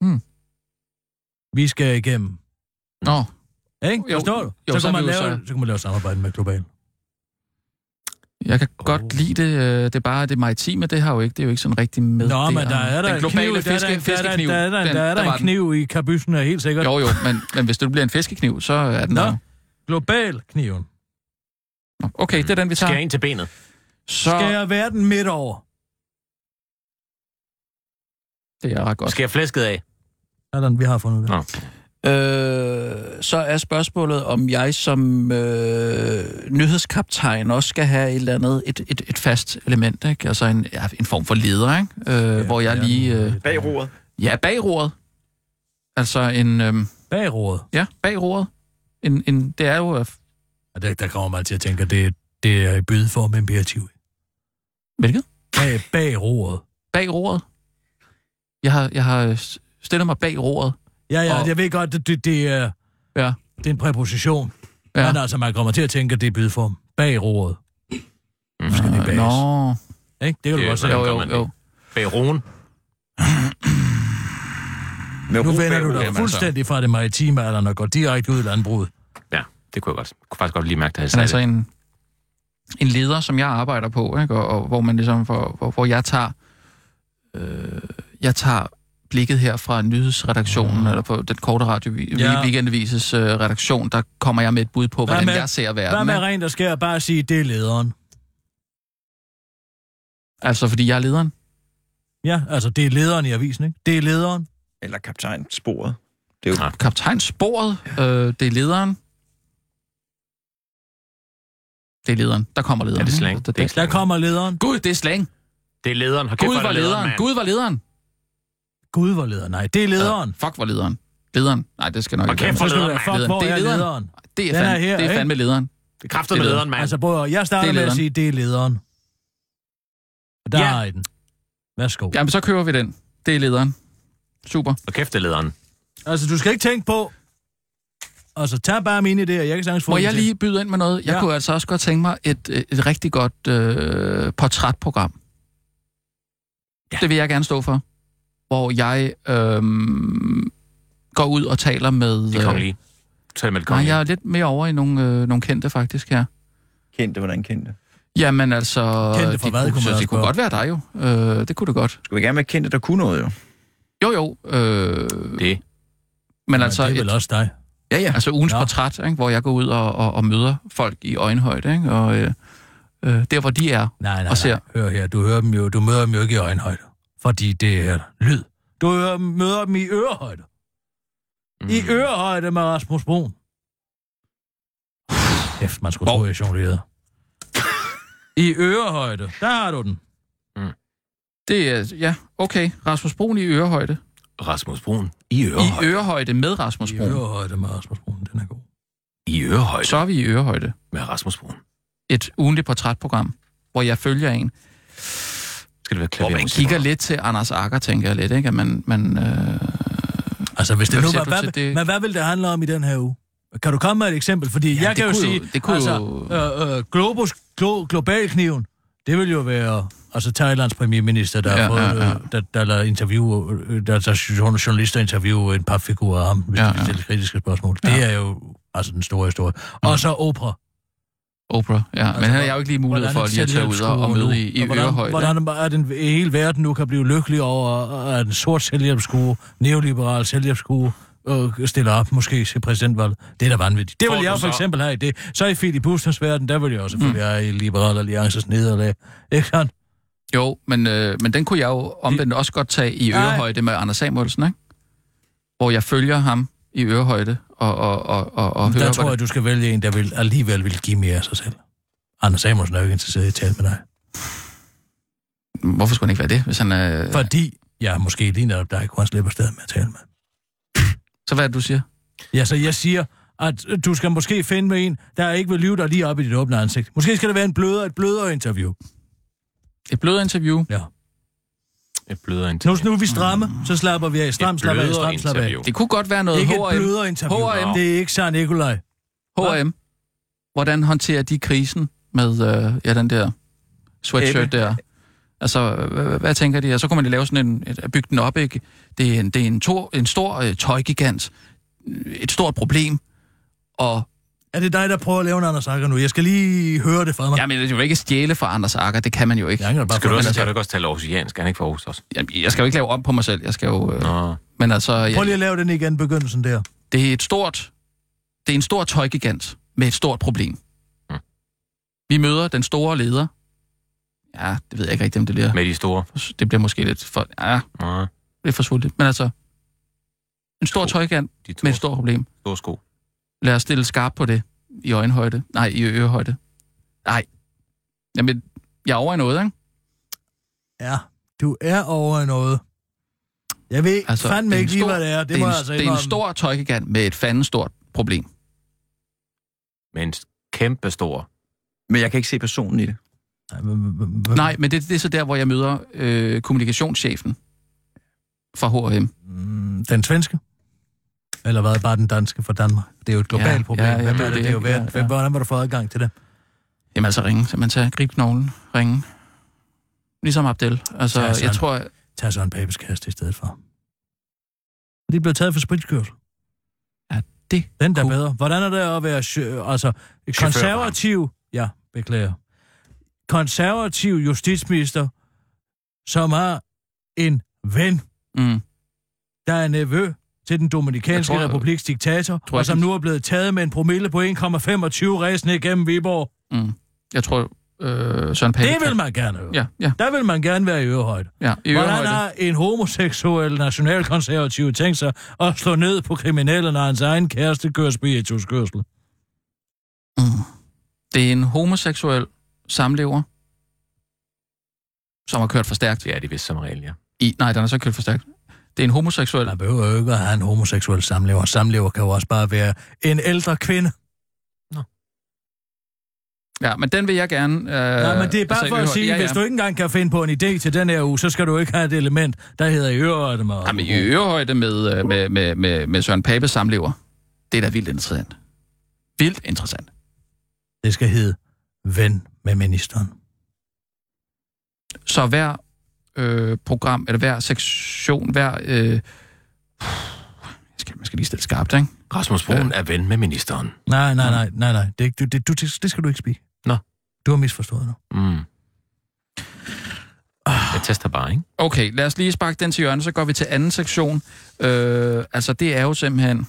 Speaker 4: Hmm.
Speaker 5: Vi skal igennem.
Speaker 4: Nå,
Speaker 5: Ikke?
Speaker 4: Jo,
Speaker 5: Forstår du?
Speaker 4: jo,
Speaker 5: så,
Speaker 4: så
Speaker 5: kan
Speaker 4: er
Speaker 5: man
Speaker 4: vi jo
Speaker 5: lave, så...
Speaker 4: så-
Speaker 5: kan man lave samarbejde med Global.
Speaker 4: jeg kan
Speaker 5: Åh.
Speaker 4: oh. godt lide det. øh, Det er bare det maritime, det har jo ikke, det er jo ikke sådan rigtig med.
Speaker 5: Nå,
Speaker 4: det,
Speaker 5: men der er der
Speaker 4: den
Speaker 5: en
Speaker 4: globale
Speaker 5: kniv, der er der,
Speaker 4: fiske,
Speaker 5: en- der er der, en-
Speaker 4: fiskekniv.
Speaker 5: der, er der, en-
Speaker 4: Den-
Speaker 5: der, er der
Speaker 4: var
Speaker 5: en
Speaker 4: den.
Speaker 5: kniv i kabysen, er helt sikkert.
Speaker 4: Jo, jo, men, men hvis det bliver en fiskekniv, så er den
Speaker 5: Nå.
Speaker 4: der.
Speaker 5: Global kniven.
Speaker 4: Nå, Okay, det er den, vi
Speaker 6: Skær
Speaker 4: tager.
Speaker 6: ind til benet.
Speaker 4: Så
Speaker 5: Skal jeg verden midt over?
Speaker 4: det er ret godt.
Speaker 6: Skær flæsket af.
Speaker 5: Allan, vi har fundet det.
Speaker 6: Nå.
Speaker 4: Øh, så er spørgsmålet, om jeg som øh, nyhedskaptajn også skal have et eller andet, et, et, et fast element, ikke? altså en, ja, en form for leder, ikke? Øh, ja, hvor jeg lige... Øh,
Speaker 2: Bag roret.
Speaker 4: ja, bag roret. Altså en... Øh,
Speaker 5: Bag roret.
Speaker 4: ja, bag roret. En, en, det er jo... Øh,
Speaker 5: Og der, der kommer man til at tænke, at det, det er i bydeform imperativ.
Speaker 4: hvilket?
Speaker 5: Bag, bag roret.
Speaker 4: Bag roret. Jeg har, jeg har øh, s- stillet mig bag roret.
Speaker 5: Ja, ja,
Speaker 4: Og-
Speaker 5: jeg ved godt, det, det, det, er,
Speaker 4: Ja.
Speaker 5: det er en præposition. Ja.
Speaker 4: Ja.
Speaker 5: Men altså, man kommer til at tænke, at det er i bydeform. Bag roret.
Speaker 4: Mm.
Speaker 5: Nu
Speaker 6: Mm.
Speaker 5: skal vi bages.
Speaker 4: Nå,
Speaker 5: Ikke? Det kan du
Speaker 6: Det-
Speaker 5: godt se.
Speaker 6: Hvordan
Speaker 4: jo,
Speaker 6: gør
Speaker 4: jo,
Speaker 6: man det?
Speaker 4: jo.
Speaker 6: Bag roen.
Speaker 2: Med
Speaker 5: Nu
Speaker 2: ro
Speaker 5: vender
Speaker 2: bag
Speaker 5: du
Speaker 2: roret,
Speaker 5: dig
Speaker 2: altså.
Speaker 5: fuldstændig fra det maritime alderen og går direkte ud i landbruget.
Speaker 6: Ja, det kunne jeg godt. Kunne faktisk godt lige mærke, at jeg
Speaker 4: Men
Speaker 6: sagde
Speaker 4: altså
Speaker 6: det.
Speaker 4: en, altså en leder, som jeg arbejder på, ikke? Og, og hvor man ligesom får, hvor, hvor jeg tager øh, jeg tager blikket her fra nyhedsredaktionen,
Speaker 6: Mm.
Speaker 4: eller på den korte radio,
Speaker 5: Ja.
Speaker 4: ja. weekendavises øh, redaktion, der kommer jeg med et bud på, hvordan
Speaker 5: med-
Speaker 4: jeg ser
Speaker 5: Hvad
Speaker 4: verden.
Speaker 5: med
Speaker 4: Med,
Speaker 5: rent og skær bare sige, det er lederen?
Speaker 4: altså, fordi jeg er lederen.
Speaker 5: Ja, altså det er lederen i avisen, ikke? Det er lederen.
Speaker 2: Eller kaptajn sporet. Det er jo...
Speaker 4: Ja. Kaptajn sporet, øh, det er lederen. Det er lederen. Der kommer lederen.
Speaker 6: Er det slang?
Speaker 4: Der,
Speaker 6: Det er
Speaker 4: der,
Speaker 6: ikke
Speaker 5: Der
Speaker 6: slang.
Speaker 5: kommer lederen.
Speaker 4: Gud, det er slang.
Speaker 6: Det er lederen. Har
Speaker 4: Gud var lederen.
Speaker 6: Gud.
Speaker 4: Gud var lederen.
Speaker 5: Gud var lederen. Nej, det er lederen.
Speaker 4: Fuck var lederen. Lederen. Nej, det skal nok
Speaker 6: Og
Speaker 4: ikke
Speaker 6: kæft,
Speaker 4: være.
Speaker 6: hvor
Speaker 5: Så skal du
Speaker 6: lederen,
Speaker 5: være,
Speaker 6: mand.
Speaker 5: fuck, hvor
Speaker 4: Det er
Speaker 5: er
Speaker 4: lederen.
Speaker 5: lederen?
Speaker 4: Det er
Speaker 5: Den er
Speaker 4: fandme,
Speaker 5: her,
Speaker 4: det er
Speaker 5: ikke?
Speaker 4: fandme lederen.
Speaker 6: Det er kraftet
Speaker 4: Det
Speaker 6: med
Speaker 4: er
Speaker 6: lederen, mand.
Speaker 5: Altså, prøv at, høre, jeg starter
Speaker 4: Det er
Speaker 5: med at
Speaker 4: lederen.
Speaker 5: sige, det er lederen. Og der
Speaker 6: Ja.
Speaker 5: har I den. Værsgo. Ja.
Speaker 4: Jamen, så kører vi den. Det er lederen. Super.
Speaker 6: Og kæft, det er lederen.
Speaker 5: Altså, du skal ikke tænke på... Altså, tag bare mine idéer. Jeg kan sagtens få
Speaker 4: Må
Speaker 5: dem
Speaker 4: jeg
Speaker 5: til.
Speaker 4: lige byde ind med noget? Jeg
Speaker 5: Ja.
Speaker 4: ja. kunne altså også godt tænke mig et, øh, et rigtig godt øh, portrætprogram. Ja. Det vil jeg gerne stå for. Hvor jeg øh, går ud og taler med...
Speaker 6: Det er kongelige. Så er det med det
Speaker 4: nej,
Speaker 6: kongelige.
Speaker 4: jeg er lidt mere over i nogle, øh, nogle kendte faktisk her.
Speaker 2: Kendte, hvordan kendte?
Speaker 4: Jamen altså...
Speaker 5: Kendte fra
Speaker 4: de
Speaker 5: hvad,
Speaker 4: kunne,
Speaker 5: kunne man
Speaker 4: så
Speaker 5: også
Speaker 4: Det kunne
Speaker 5: spørge.
Speaker 4: godt være dig jo. Øh, det kunne det godt.
Speaker 2: Skulle vi gerne være kendte, der kunne noget, jo?
Speaker 4: Jo, jo. Øh,
Speaker 6: Det.
Speaker 4: men
Speaker 5: Men
Speaker 4: altså...
Speaker 5: det er
Speaker 4: et-
Speaker 5: vel også dig.
Speaker 2: Ja, ja.
Speaker 4: Altså ugens
Speaker 5: Nå.
Speaker 4: ja. portræt, ikke? hvor jeg går ud og, og, og møder folk i øjenhøjde, ikke? og øh, øh, der hvor de er.
Speaker 5: Nej, nej, nej.
Speaker 4: Og ser.
Speaker 5: Hør her, du hører dem jo, du møder dem jo ikke i øjenhøjde, fordi det er lyd. Du hører, dem- møder dem i ørehøjde. Mm. I ørehøjde med Rasmus Brun. Kæft, man skulle tro,
Speaker 4: [LAUGHS]
Speaker 5: jeg jonglerede. I ørehøjde, der har du den.
Speaker 4: Det er, ja, okay, Rasmus Brun i ørehøjde.
Speaker 6: Rasmus Brun. I
Speaker 4: I
Speaker 6: ørehøjde.
Speaker 4: ørehøjde med Rasmus
Speaker 5: I
Speaker 4: Brun.
Speaker 5: ørehøjde med Rasmus Brun, den er god.
Speaker 6: I ørehøjde.
Speaker 4: Så er vi i ørehøjde.
Speaker 6: Med Rasmus Brun.
Speaker 4: Et ugenligt portrætprogram, hvor jeg følger en.
Speaker 6: Skal det være
Speaker 2: Hvor
Speaker 6: klaver?
Speaker 2: man
Speaker 4: Man kigger lidt til Anders Akker, tænker jeg lidt, ikke? At man, man, øh,
Speaker 5: Altså, hvis det
Speaker 4: Hvad
Speaker 5: nu
Speaker 4: siger
Speaker 5: var,
Speaker 4: du
Speaker 5: hvad,
Speaker 4: til det?
Speaker 5: Men hvad vil det handle om i den her uge? Kan du komme med et eksempel? Fordi ja, jeg
Speaker 4: det
Speaker 5: kan jo
Speaker 4: kunne jo-
Speaker 5: sige,
Speaker 4: det kunne
Speaker 5: altså,
Speaker 4: jo-
Speaker 5: Øh, øh, Globus, glo, globalkniven, det vil jo være altså Thailands premierminister, der ja, har fået, ja, ja. Øh, der, der lader interview, øh, der, der journalister interviewe en par figurer af ham, hvis
Speaker 4: Ja,
Speaker 5: ja, ja. de
Speaker 4: ja.
Speaker 5: stiller kritiske spørgsmål. Det er jo altså den store historie. Og
Speaker 4: Mm.
Speaker 5: så Oprah.
Speaker 4: Oprah, ja. Men han har jeg jo ikke lige mulighed
Speaker 5: Altså,
Speaker 4: for
Speaker 5: Hvordan en
Speaker 4: lige at tage ud og, og møde
Speaker 5: selvhjælpsguru
Speaker 4: i,
Speaker 5: nu,
Speaker 4: i
Speaker 5: og hvordan,
Speaker 4: ørehøjde.
Speaker 5: Hvordan er den hele verden nu kan blive lykkelig over, at en sort selvhjælpsskue, neoliberal selvhjælpsskue, øh, stiller op måske til præsidentvalget. Det er da vanvittigt. Det
Speaker 6: Får
Speaker 5: vil jeg
Speaker 6: du
Speaker 5: for
Speaker 6: så-
Speaker 5: eksempel have i det. Så i Philip Busters verden, der vil jeg også selvfølgelig mm. have i Liberal Alliances nederlag. Ikke sådan?
Speaker 4: Jo, men, øh, men den kunne jeg jo omvendt også godt tage i
Speaker 5: Nej.
Speaker 4: ørehøjde med Anders Samuelsen, ikke? Hvor jeg følger ham i ørehøjde og, og, og, og, og
Speaker 5: Der
Speaker 4: hører,
Speaker 5: tror jeg, du skal vælge en, der vil, alligevel vil give mere af sig selv. Anders Samuelsen er jo ikke interesseret i at tale med dig.
Speaker 4: hvordan- hvorfor skulle han ikke være det, hvis han øh, er... For...
Speaker 5: Fordi, ja, måske lige netop dig kunne han slippe afsted med at tale med.
Speaker 4: Så hvad er det, du siger?
Speaker 5: Ja, så jeg siger, at øh, du skal måske finde med en, der ikke vil lyve dig lige op i dit åbne ansigt. Måske skal det være en blødere, et blødere interview.
Speaker 4: Et blødt interview?
Speaker 5: Ja.
Speaker 6: Et blødere
Speaker 5: Nu,
Speaker 6: interview.
Speaker 5: nu er vi stramme, så slapper vi af. Stram,
Speaker 6: Et
Speaker 5: slap af,
Speaker 6: blødere
Speaker 5: stram, slap af.
Speaker 6: interview.
Speaker 4: Det kunne godt være noget
Speaker 5: Ikke et
Speaker 4: H&M.
Speaker 5: blødere interview.
Speaker 4: H&M.
Speaker 5: Det er ikke så Nikolaj.
Speaker 4: H&M. Hvordan håndterer de krisen med øh, ja, den der sweatshirt
Speaker 2: Ebbe.
Speaker 4: der? Altså, hvad, hvad tænker de? Og så kunne man lige lave sådan en, et, at bygge den op, ikke? Det er en, det er en, tor, en stor øh, tøjgigant. Et stort problem. Og
Speaker 5: Er det dig, der prøver at lave en Anders Akker nu? Jeg skal lige høre det fra mig.
Speaker 4: Jamen, det er jo ikke stjæle fra Anders Akker, det kan man jo ikke.
Speaker 5: Jeg angrer bare
Speaker 6: Skal du
Speaker 5: på
Speaker 6: også,
Speaker 5: det.
Speaker 6: skal du ikke også tale aarhusiansk? Er han ikke fra Aarhus også?
Speaker 4: Jamen, Jeg skal jo ikke lave om på mig selv, jeg skal jo... Øh,
Speaker 6: Nå.
Speaker 4: men altså,
Speaker 5: Prøv lige
Speaker 4: jeg,
Speaker 5: at lave den igen, begyndelsen der.
Speaker 4: det er et stort... Det er en stor tøjgigant med et stort problem.
Speaker 6: Mm.
Speaker 4: Vi møder den store leder. Ja, det ved jeg ikke rigtigt, om det bliver...
Speaker 6: Med de store.
Speaker 4: Det bliver måske lidt for... Ja,
Speaker 6: Nå.
Speaker 4: lidt for svultigt. Men altså, en stor tøjgigant
Speaker 6: De
Speaker 4: med
Speaker 6: store,
Speaker 4: et stort problem.
Speaker 6: store sko.
Speaker 4: Lad os stille skarpt på det. I øjenhøjde. Nej, i ørehøjde. Nej. Jamen, jeg er over i noget, ikke?
Speaker 5: Ja, du er over i noget. Jeg ved altså,
Speaker 4: Altså,
Speaker 5: fandme
Speaker 4: det er en
Speaker 5: ikke lige,
Speaker 4: stor-
Speaker 5: hvad det er. Det,
Speaker 4: Det, det,
Speaker 5: må
Speaker 4: er, en,
Speaker 5: jeg
Speaker 4: altså
Speaker 5: altså
Speaker 4: det er en
Speaker 5: indrømme.
Speaker 4: stor tøjgigant med et fanden stort problem.
Speaker 6: Med en kæmpe stor.
Speaker 2: Men jeg kan ikke se personen i det.
Speaker 5: Nej, men- men- men-
Speaker 4: Nej, men det, det er så der, hvor jeg møder øh, kommunikationschefen fra H&M.
Speaker 5: Mm, Den svenske? Eller hvad, bare den danske fra Danmark? Det er jo et globalt
Speaker 4: Ja,
Speaker 5: problem.
Speaker 4: ja, ja,
Speaker 5: Hvem
Speaker 4: det er
Speaker 5: er det,
Speaker 4: det,
Speaker 5: det er jo
Speaker 4: ikke? Ja,
Speaker 5: verden.
Speaker 4: ja.
Speaker 5: Hvordan var du få adgang til det?
Speaker 4: Jamen altså ringe, så man tager grib knoglen, ringe. Ligesom Abdel. Altså,
Speaker 5: Ja,
Speaker 4: ja, jeg
Speaker 5: sådan.
Speaker 4: tror, jeg-
Speaker 5: Tag så en Papes kæreste i stedet for. De er blevet taget for spritkørsel.
Speaker 4: Ja, det
Speaker 5: Den der er
Speaker 4: kunne-
Speaker 5: bedre. Hvordan er det at være sjø, altså, konservativ... Ja, beklager. Konservativ justitsminister, som har en ven,
Speaker 4: mm,
Speaker 5: der er nevø til den
Speaker 4: Jeg
Speaker 5: dominikanske
Speaker 4: tror,
Speaker 5: tror,
Speaker 4: jeg-
Speaker 5: republiks diktator,
Speaker 4: tror,
Speaker 5: og
Speaker 4: jeg
Speaker 5: som
Speaker 4: kan-
Speaker 5: nu er blevet taget med en promille på 1,25 ræsende igennem Viborg.
Speaker 4: mm, jeg tror, øh, Søren Pape.
Speaker 5: Det vil man gerne høre.
Speaker 4: Ja, ja,
Speaker 5: Der vil man gerne være i ørehøjde.
Speaker 4: ja. I
Speaker 5: Hvordan
Speaker 4: ørehøjde.
Speaker 5: har en homoseksuel nationalkonservativ tænkt sig at slå ned på kriminelle, når hans egen kæreste kører spirituskørsel?
Speaker 4: Mm. Det er en homoseksuel samlever, som har kørt for stærkt.
Speaker 6: Det er de vist som regel, ja.
Speaker 4: I, nej, den har så kørt for stærkt. Det er en homoseksuel.
Speaker 5: Man behøver jo ikke at have en homoseksuel samlever. Samlever kan jo også bare være en ældre kvinde.
Speaker 4: Ja, men den vil jeg gerne... Øh,
Speaker 5: Øh, Nej, men det er
Speaker 4: altså,
Speaker 5: bare for at
Speaker 4: ørehøjde.
Speaker 5: sige, ja, ja. hvis du ikke engang kan finde på en idé til den her uge, så skal du ikke have et element, der hedder i øvrigt med.
Speaker 4: Jamen, i ørehøjde med, øh, med, med, med, med Søren Pape samlever. Det er da vildt interessant. Vildt interessant.
Speaker 5: Det skal hedde ven med ministeren.
Speaker 4: Så hver øh, program, eller hver sektion, hver... Øh, jeg skal, man skal lige stille skarpt, ikke?
Speaker 6: Rasmus Broen er ven med ministeren.
Speaker 5: Nej, nej, nej, nej, nej. Det, er ikke- det, det, du, det, det skal du ikke spise.
Speaker 6: Nå.
Speaker 5: Du har misforstået nu.
Speaker 6: Mm. Jeg tester bare, ikke?
Speaker 4: Okay, lad os lige sparke den til hjørnet, så går vi til anden sektion. Øh, altså, det er jo simpelthen...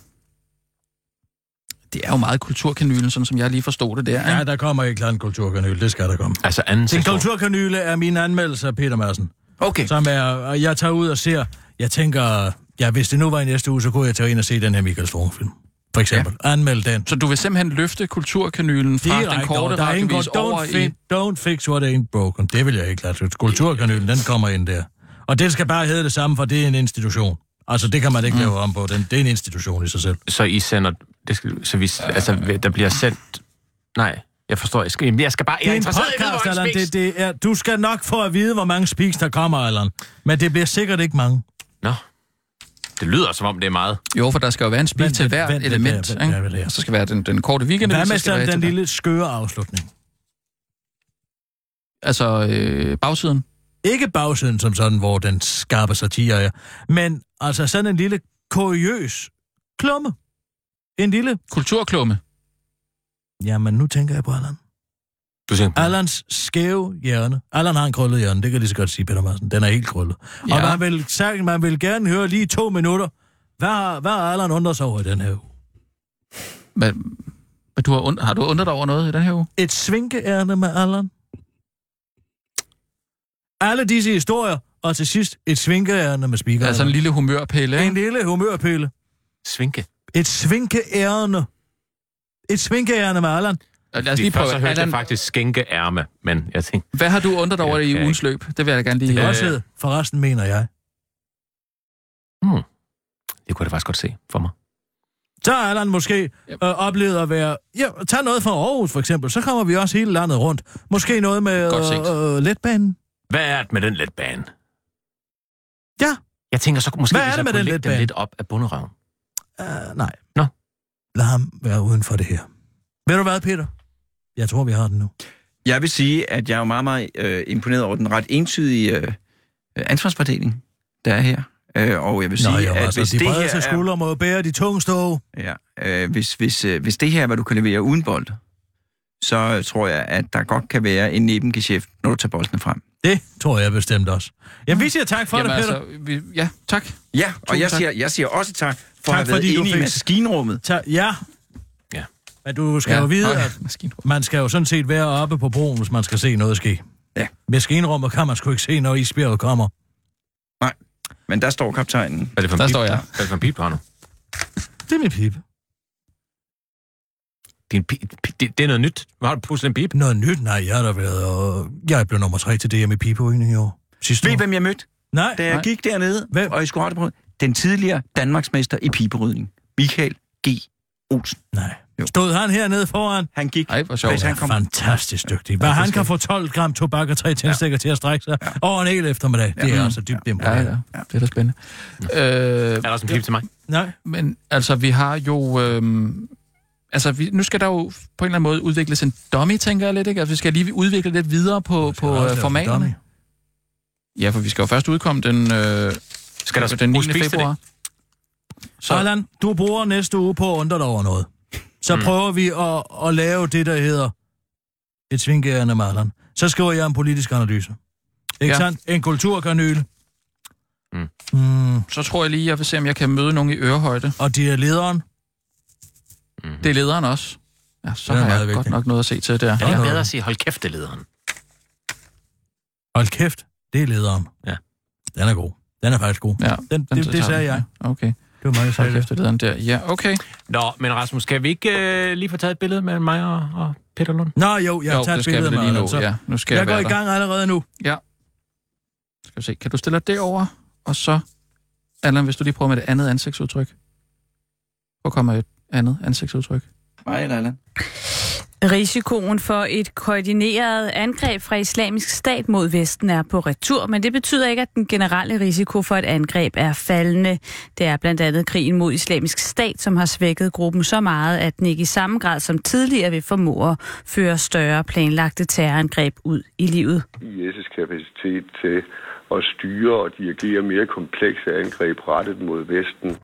Speaker 4: Det er jo meget kulturkanylen, sådan som jeg lige forstod det der.
Speaker 5: Ja,
Speaker 4: ikke?
Speaker 5: der kommer ikke klart en kulturkanyle. Det skal der komme.
Speaker 6: Altså anden
Speaker 5: Den
Speaker 6: sektion.
Speaker 5: kulturkanyle er min anmeldelse af Peter Madsen.
Speaker 4: Okay.
Speaker 5: Som er, og jeg tager ud og ser, jeg tænker, ja, hvis det nu var i næste uge, så kunne jeg tage ind og se den her Michael Strunge-film. For eksempel. Ja. Anmeld den.
Speaker 4: Så du vil simpelthen løfte kulturkanylen fra den korte
Speaker 5: Ah, der er ingen
Speaker 4: radiovis
Speaker 5: kort.
Speaker 4: over
Speaker 5: Don't,
Speaker 4: i...
Speaker 5: fi- don't fix what ain't broken. Det vil jeg ikke lade sig. Kulturkanalen, den kommer ind der. Og det skal bare hedde det samme, for det er en institution. Altså, det kan man ikke mm. lave om på. Den, det er en institution i sig selv.
Speaker 6: Så I sender... Det skal, så vi, altså, der bliver sendt... Nej, jeg forstår. Jeg skal, jamen, jeg skal bare... Jeg er interesseret i at vide, hvor
Speaker 5: Allan.
Speaker 6: en spiks-
Speaker 5: Det, det er, du skal nok få at vide, hvor mange speaks, der kommer, Allan. Men det bliver sikkert ikke mange.
Speaker 6: Nå. Det lyder, som om det er meget.
Speaker 4: Jo, for der skal jo være en spil
Speaker 5: Vent
Speaker 4: til
Speaker 5: lidt,
Speaker 4: hvert
Speaker 5: vent lidt,
Speaker 4: element.
Speaker 5: vent,
Speaker 4: ikke?
Speaker 5: vent lidt her.
Speaker 4: Så skal være den, den korte weekend.
Speaker 5: Hvad
Speaker 4: så
Speaker 5: med
Speaker 4: skal
Speaker 5: sådan
Speaker 4: være
Speaker 5: den
Speaker 4: til-
Speaker 5: lille skøre afslutning?
Speaker 4: Altså, øh, bagsiden.
Speaker 5: Ikke bagsiden som sådan, hvor den skarpe satire er, men altså sådan en lille kuriøs klumme. En lille...
Speaker 4: Kulturklumme.
Speaker 5: Jamen, nu tænker jeg på Allan.
Speaker 6: Du tænker,
Speaker 5: Allans skæve hjerne. Allan har en krøllet hjerne, det kan jeg lige så godt sige, Peter Madsen. Den er helt krøllet. Ja. Og
Speaker 4: Ja.
Speaker 5: man vil, sagt, man vil gerne høre lige to minutter. Hvad, har- hvad har Allan undret sig over i den her uge?
Speaker 4: Hvad, hvad du har, und, har du undret dig over noget i den her uge?
Speaker 5: Et svinkeærne med Allan? Alle disse historier, og til sidst et svinkeærne med speaker.
Speaker 4: Altså en lille humørpille,
Speaker 5: en
Speaker 4: ikke?
Speaker 5: lille humørpille.
Speaker 6: svinke.
Speaker 5: Et svinkeærne. Et svinkeærne med Allan.
Speaker 4: Og Altså, Lad os lige
Speaker 6: Lige
Speaker 4: prøve.
Speaker 6: først så hørte jeg
Speaker 4: Allan,
Speaker 6: faktisk skænke ærme, men jeg tænkte,
Speaker 4: hvad har du undret dig over
Speaker 6: Jeg
Speaker 4: i
Speaker 6: kan
Speaker 4: ugens løb? Det vil jeg gerne lige... Det
Speaker 5: Det kan
Speaker 6: Øh.
Speaker 5: også hedde, forresten mener jeg.
Speaker 6: det kunne jeg da faktisk godt se for mig.
Speaker 5: Så har Allan måske øh,
Speaker 4: Jamen.
Speaker 5: oplevet at være... Ja, tag noget fra Aarhus for eksempel, så kommer vi også hele landet rundt. Måske noget med
Speaker 4: Godt set.
Speaker 5: øh, øh, letbanen.
Speaker 6: Hvad er det med den letbane?
Speaker 5: Ja.
Speaker 6: Jeg tænker så måske,
Speaker 5: Hvad er
Speaker 6: hvis
Speaker 5: det
Speaker 6: jeg
Speaker 5: med
Speaker 6: kunne
Speaker 5: den
Speaker 6: lægge
Speaker 5: letbane?
Speaker 6: den lidt op af bunderøven.
Speaker 5: Uh, nej.
Speaker 6: Nå.
Speaker 5: Lad ham være uden for det her. Ved du hvad, Peter? Jeg tror, vi har den nu.
Speaker 2: Jeg vil sige, at jeg er jo meget, meget øh, imponeret over den ret entydige øh, ansvarsfordeling, der er her. Øh, og jeg vil sige,
Speaker 5: Nå, jo,
Speaker 2: at
Speaker 5: altså,
Speaker 2: hvis
Speaker 5: de
Speaker 2: det her
Speaker 5: brede sig
Speaker 2: er,
Speaker 5: skuldre må jo bære de tungeste år.
Speaker 2: Ja, øh, hvis, hvis, øh, hvis det her er, hvad du kan levere uden bold, så øh, tror jeg, at der godt kan være en nebengeschæft, når du tager boldene frem.
Speaker 5: Det tror jeg bestemt også. Jamen, vi siger tak for
Speaker 4: Jamen
Speaker 5: det, Peter.
Speaker 4: altså, vi, ja, tak.
Speaker 2: Ja, og
Speaker 4: Tusind
Speaker 2: jeg
Speaker 4: tak.
Speaker 2: siger, jeg siger også tak for
Speaker 5: Tak,
Speaker 2: at have været
Speaker 5: fordi du
Speaker 2: inde i
Speaker 5: fik-
Speaker 2: maskinrummet.
Speaker 5: Ta- ja.
Speaker 6: Ja.
Speaker 5: Men du skal ja.
Speaker 4: ja.
Speaker 5: jo vide,
Speaker 4: Nå,
Speaker 5: at
Speaker 4: ja, maskine.
Speaker 5: Man skal jo sådan set være oppe på broen, hvis man skal se noget ske.
Speaker 2: Ja.
Speaker 5: Med skenrummet kan man sgu ikke se, når isbjerget kommer.
Speaker 2: Men der står kaptajnen.
Speaker 6: Hvad er det for en
Speaker 4: Der
Speaker 6: pip?
Speaker 4: står jeg.
Speaker 6: Hvad er det for en pip, du har nu?
Speaker 5: Det er min pip.
Speaker 6: Det er, en pip, pip- det, det er noget nyt. Hvad har du pludselig en pip?
Speaker 5: Noget nyt? Nej, jeg har da været... Og jeg blev nummer tre til DM i pibeøgning i år. Sidste
Speaker 2: Ved I,
Speaker 5: år.
Speaker 2: hvem jeg mødte,
Speaker 5: Nej,
Speaker 2: da jeg
Speaker 4: Nej.
Speaker 2: gik dernede?
Speaker 5: Hvem?
Speaker 2: Og I skulle have det på. Den tidligere Danmarksmester i piberydning, Michael G. Olsen.
Speaker 5: nej.
Speaker 2: Jo.
Speaker 5: Stod han hernede foran?
Speaker 2: Han gik...
Speaker 4: Ej, hvor sjovt.
Speaker 2: Hvis han
Speaker 5: Han
Speaker 2: kom...
Speaker 5: Fantastisk dygtig. Hvad han kan få 12 gram tobak og 3 tændstikker til at strække sig over en hel eftermiddag. Det er altså dybt
Speaker 4: Ja,
Speaker 5: imponerende.
Speaker 4: ja, det er da spændende. Øh,
Speaker 6: Er der også en pip til mig?
Speaker 5: Nej.
Speaker 4: men altså, vi har jo... Øhm, altså, vi, nu skal der jo på en eller anden måde udvikles en dummy, tænker jeg lidt, ikke? Altså, vi skal lige udvikle lidt videre på,
Speaker 5: Jeg har
Speaker 4: på
Speaker 5: også
Speaker 4: øh,
Speaker 5: lavet
Speaker 4: formaterne.
Speaker 5: dummy.
Speaker 4: Ja, for vi skal jo først udkomme den, øh,
Speaker 6: Skal der også
Speaker 4: den 9.
Speaker 6: bruges pis til det?
Speaker 4: februar.
Speaker 5: Så Allan, du bruger næste uge på at undre dig over noget. Så mm. prøver vi at, at lave det, der hedder et svingærende med Allan. Så skriver jeg en politisk analyse. Ikke ja.
Speaker 4: Ja.
Speaker 5: sandt? En kulturkanyle.
Speaker 6: Mm.
Speaker 5: Mm.
Speaker 4: Så tror jeg lige, jeg vil se, om jeg kan møde nogen i ørehøjde.
Speaker 5: Og de er lederen.
Speaker 4: Det er lederen også. Ja, så
Speaker 5: Det er
Speaker 4: har jeg
Speaker 5: meget
Speaker 4: godt
Speaker 5: vigtigt.
Speaker 4: nok noget at se til der.
Speaker 6: Ja, jeg
Speaker 5: Nå, nå.
Speaker 6: bedre at sige, hold kæft, det er lederen.
Speaker 5: Hold kæft, det er lederen.
Speaker 6: Ja.
Speaker 5: Den er god. Den er faktisk god.
Speaker 4: Ja,
Speaker 5: den, den, det,
Speaker 4: tager
Speaker 5: det sagde
Speaker 4: vi.
Speaker 5: jeg.
Speaker 4: Ja, Okay,
Speaker 5: Det var mig, der sagde
Speaker 4: hold
Speaker 5: det.
Speaker 4: kæft, det er den der. Ja, okay.
Speaker 6: Nå, men Rasmus, skal vi ikke øh, lige få taget et billede mellem mig og, og Peter Lund?
Speaker 5: Nå jo, jeg
Speaker 4: jo,
Speaker 5: jo, tager
Speaker 4: det
Speaker 5: et
Speaker 4: skal
Speaker 5: billede
Speaker 4: vi da
Speaker 5: med
Speaker 4: lige
Speaker 5: dig.
Speaker 4: nå.
Speaker 5: Altså.
Speaker 4: Ja, nu skal jeg,
Speaker 5: Jeg går
Speaker 4: være
Speaker 5: i
Speaker 4: der.
Speaker 5: gang allerede nu.
Speaker 4: Skal vi se. Kan du stille dig derover og så... Allan, hvis du lige prøver med det andet ansigtsudtryk. Hvor kommer et andet ansigtsudtryk?
Speaker 2: Nej, nej, nej.
Speaker 7: Risikoen for et koordineret angreb fra islamisk stat mod Vesten er på retur, men det betyder ikke, at den generelle risiko for et angreb er faldende. Det er blandt andet krigen mod islamisk stat, som har svækket gruppen så meget, at den ikke i samme grad som tidligere vil formå at føre større planlagte terrorangreb ud i livet.
Speaker 8: IS' kapacitet til at styre og dirigere mere komplekse angreb rettet mod Vesten.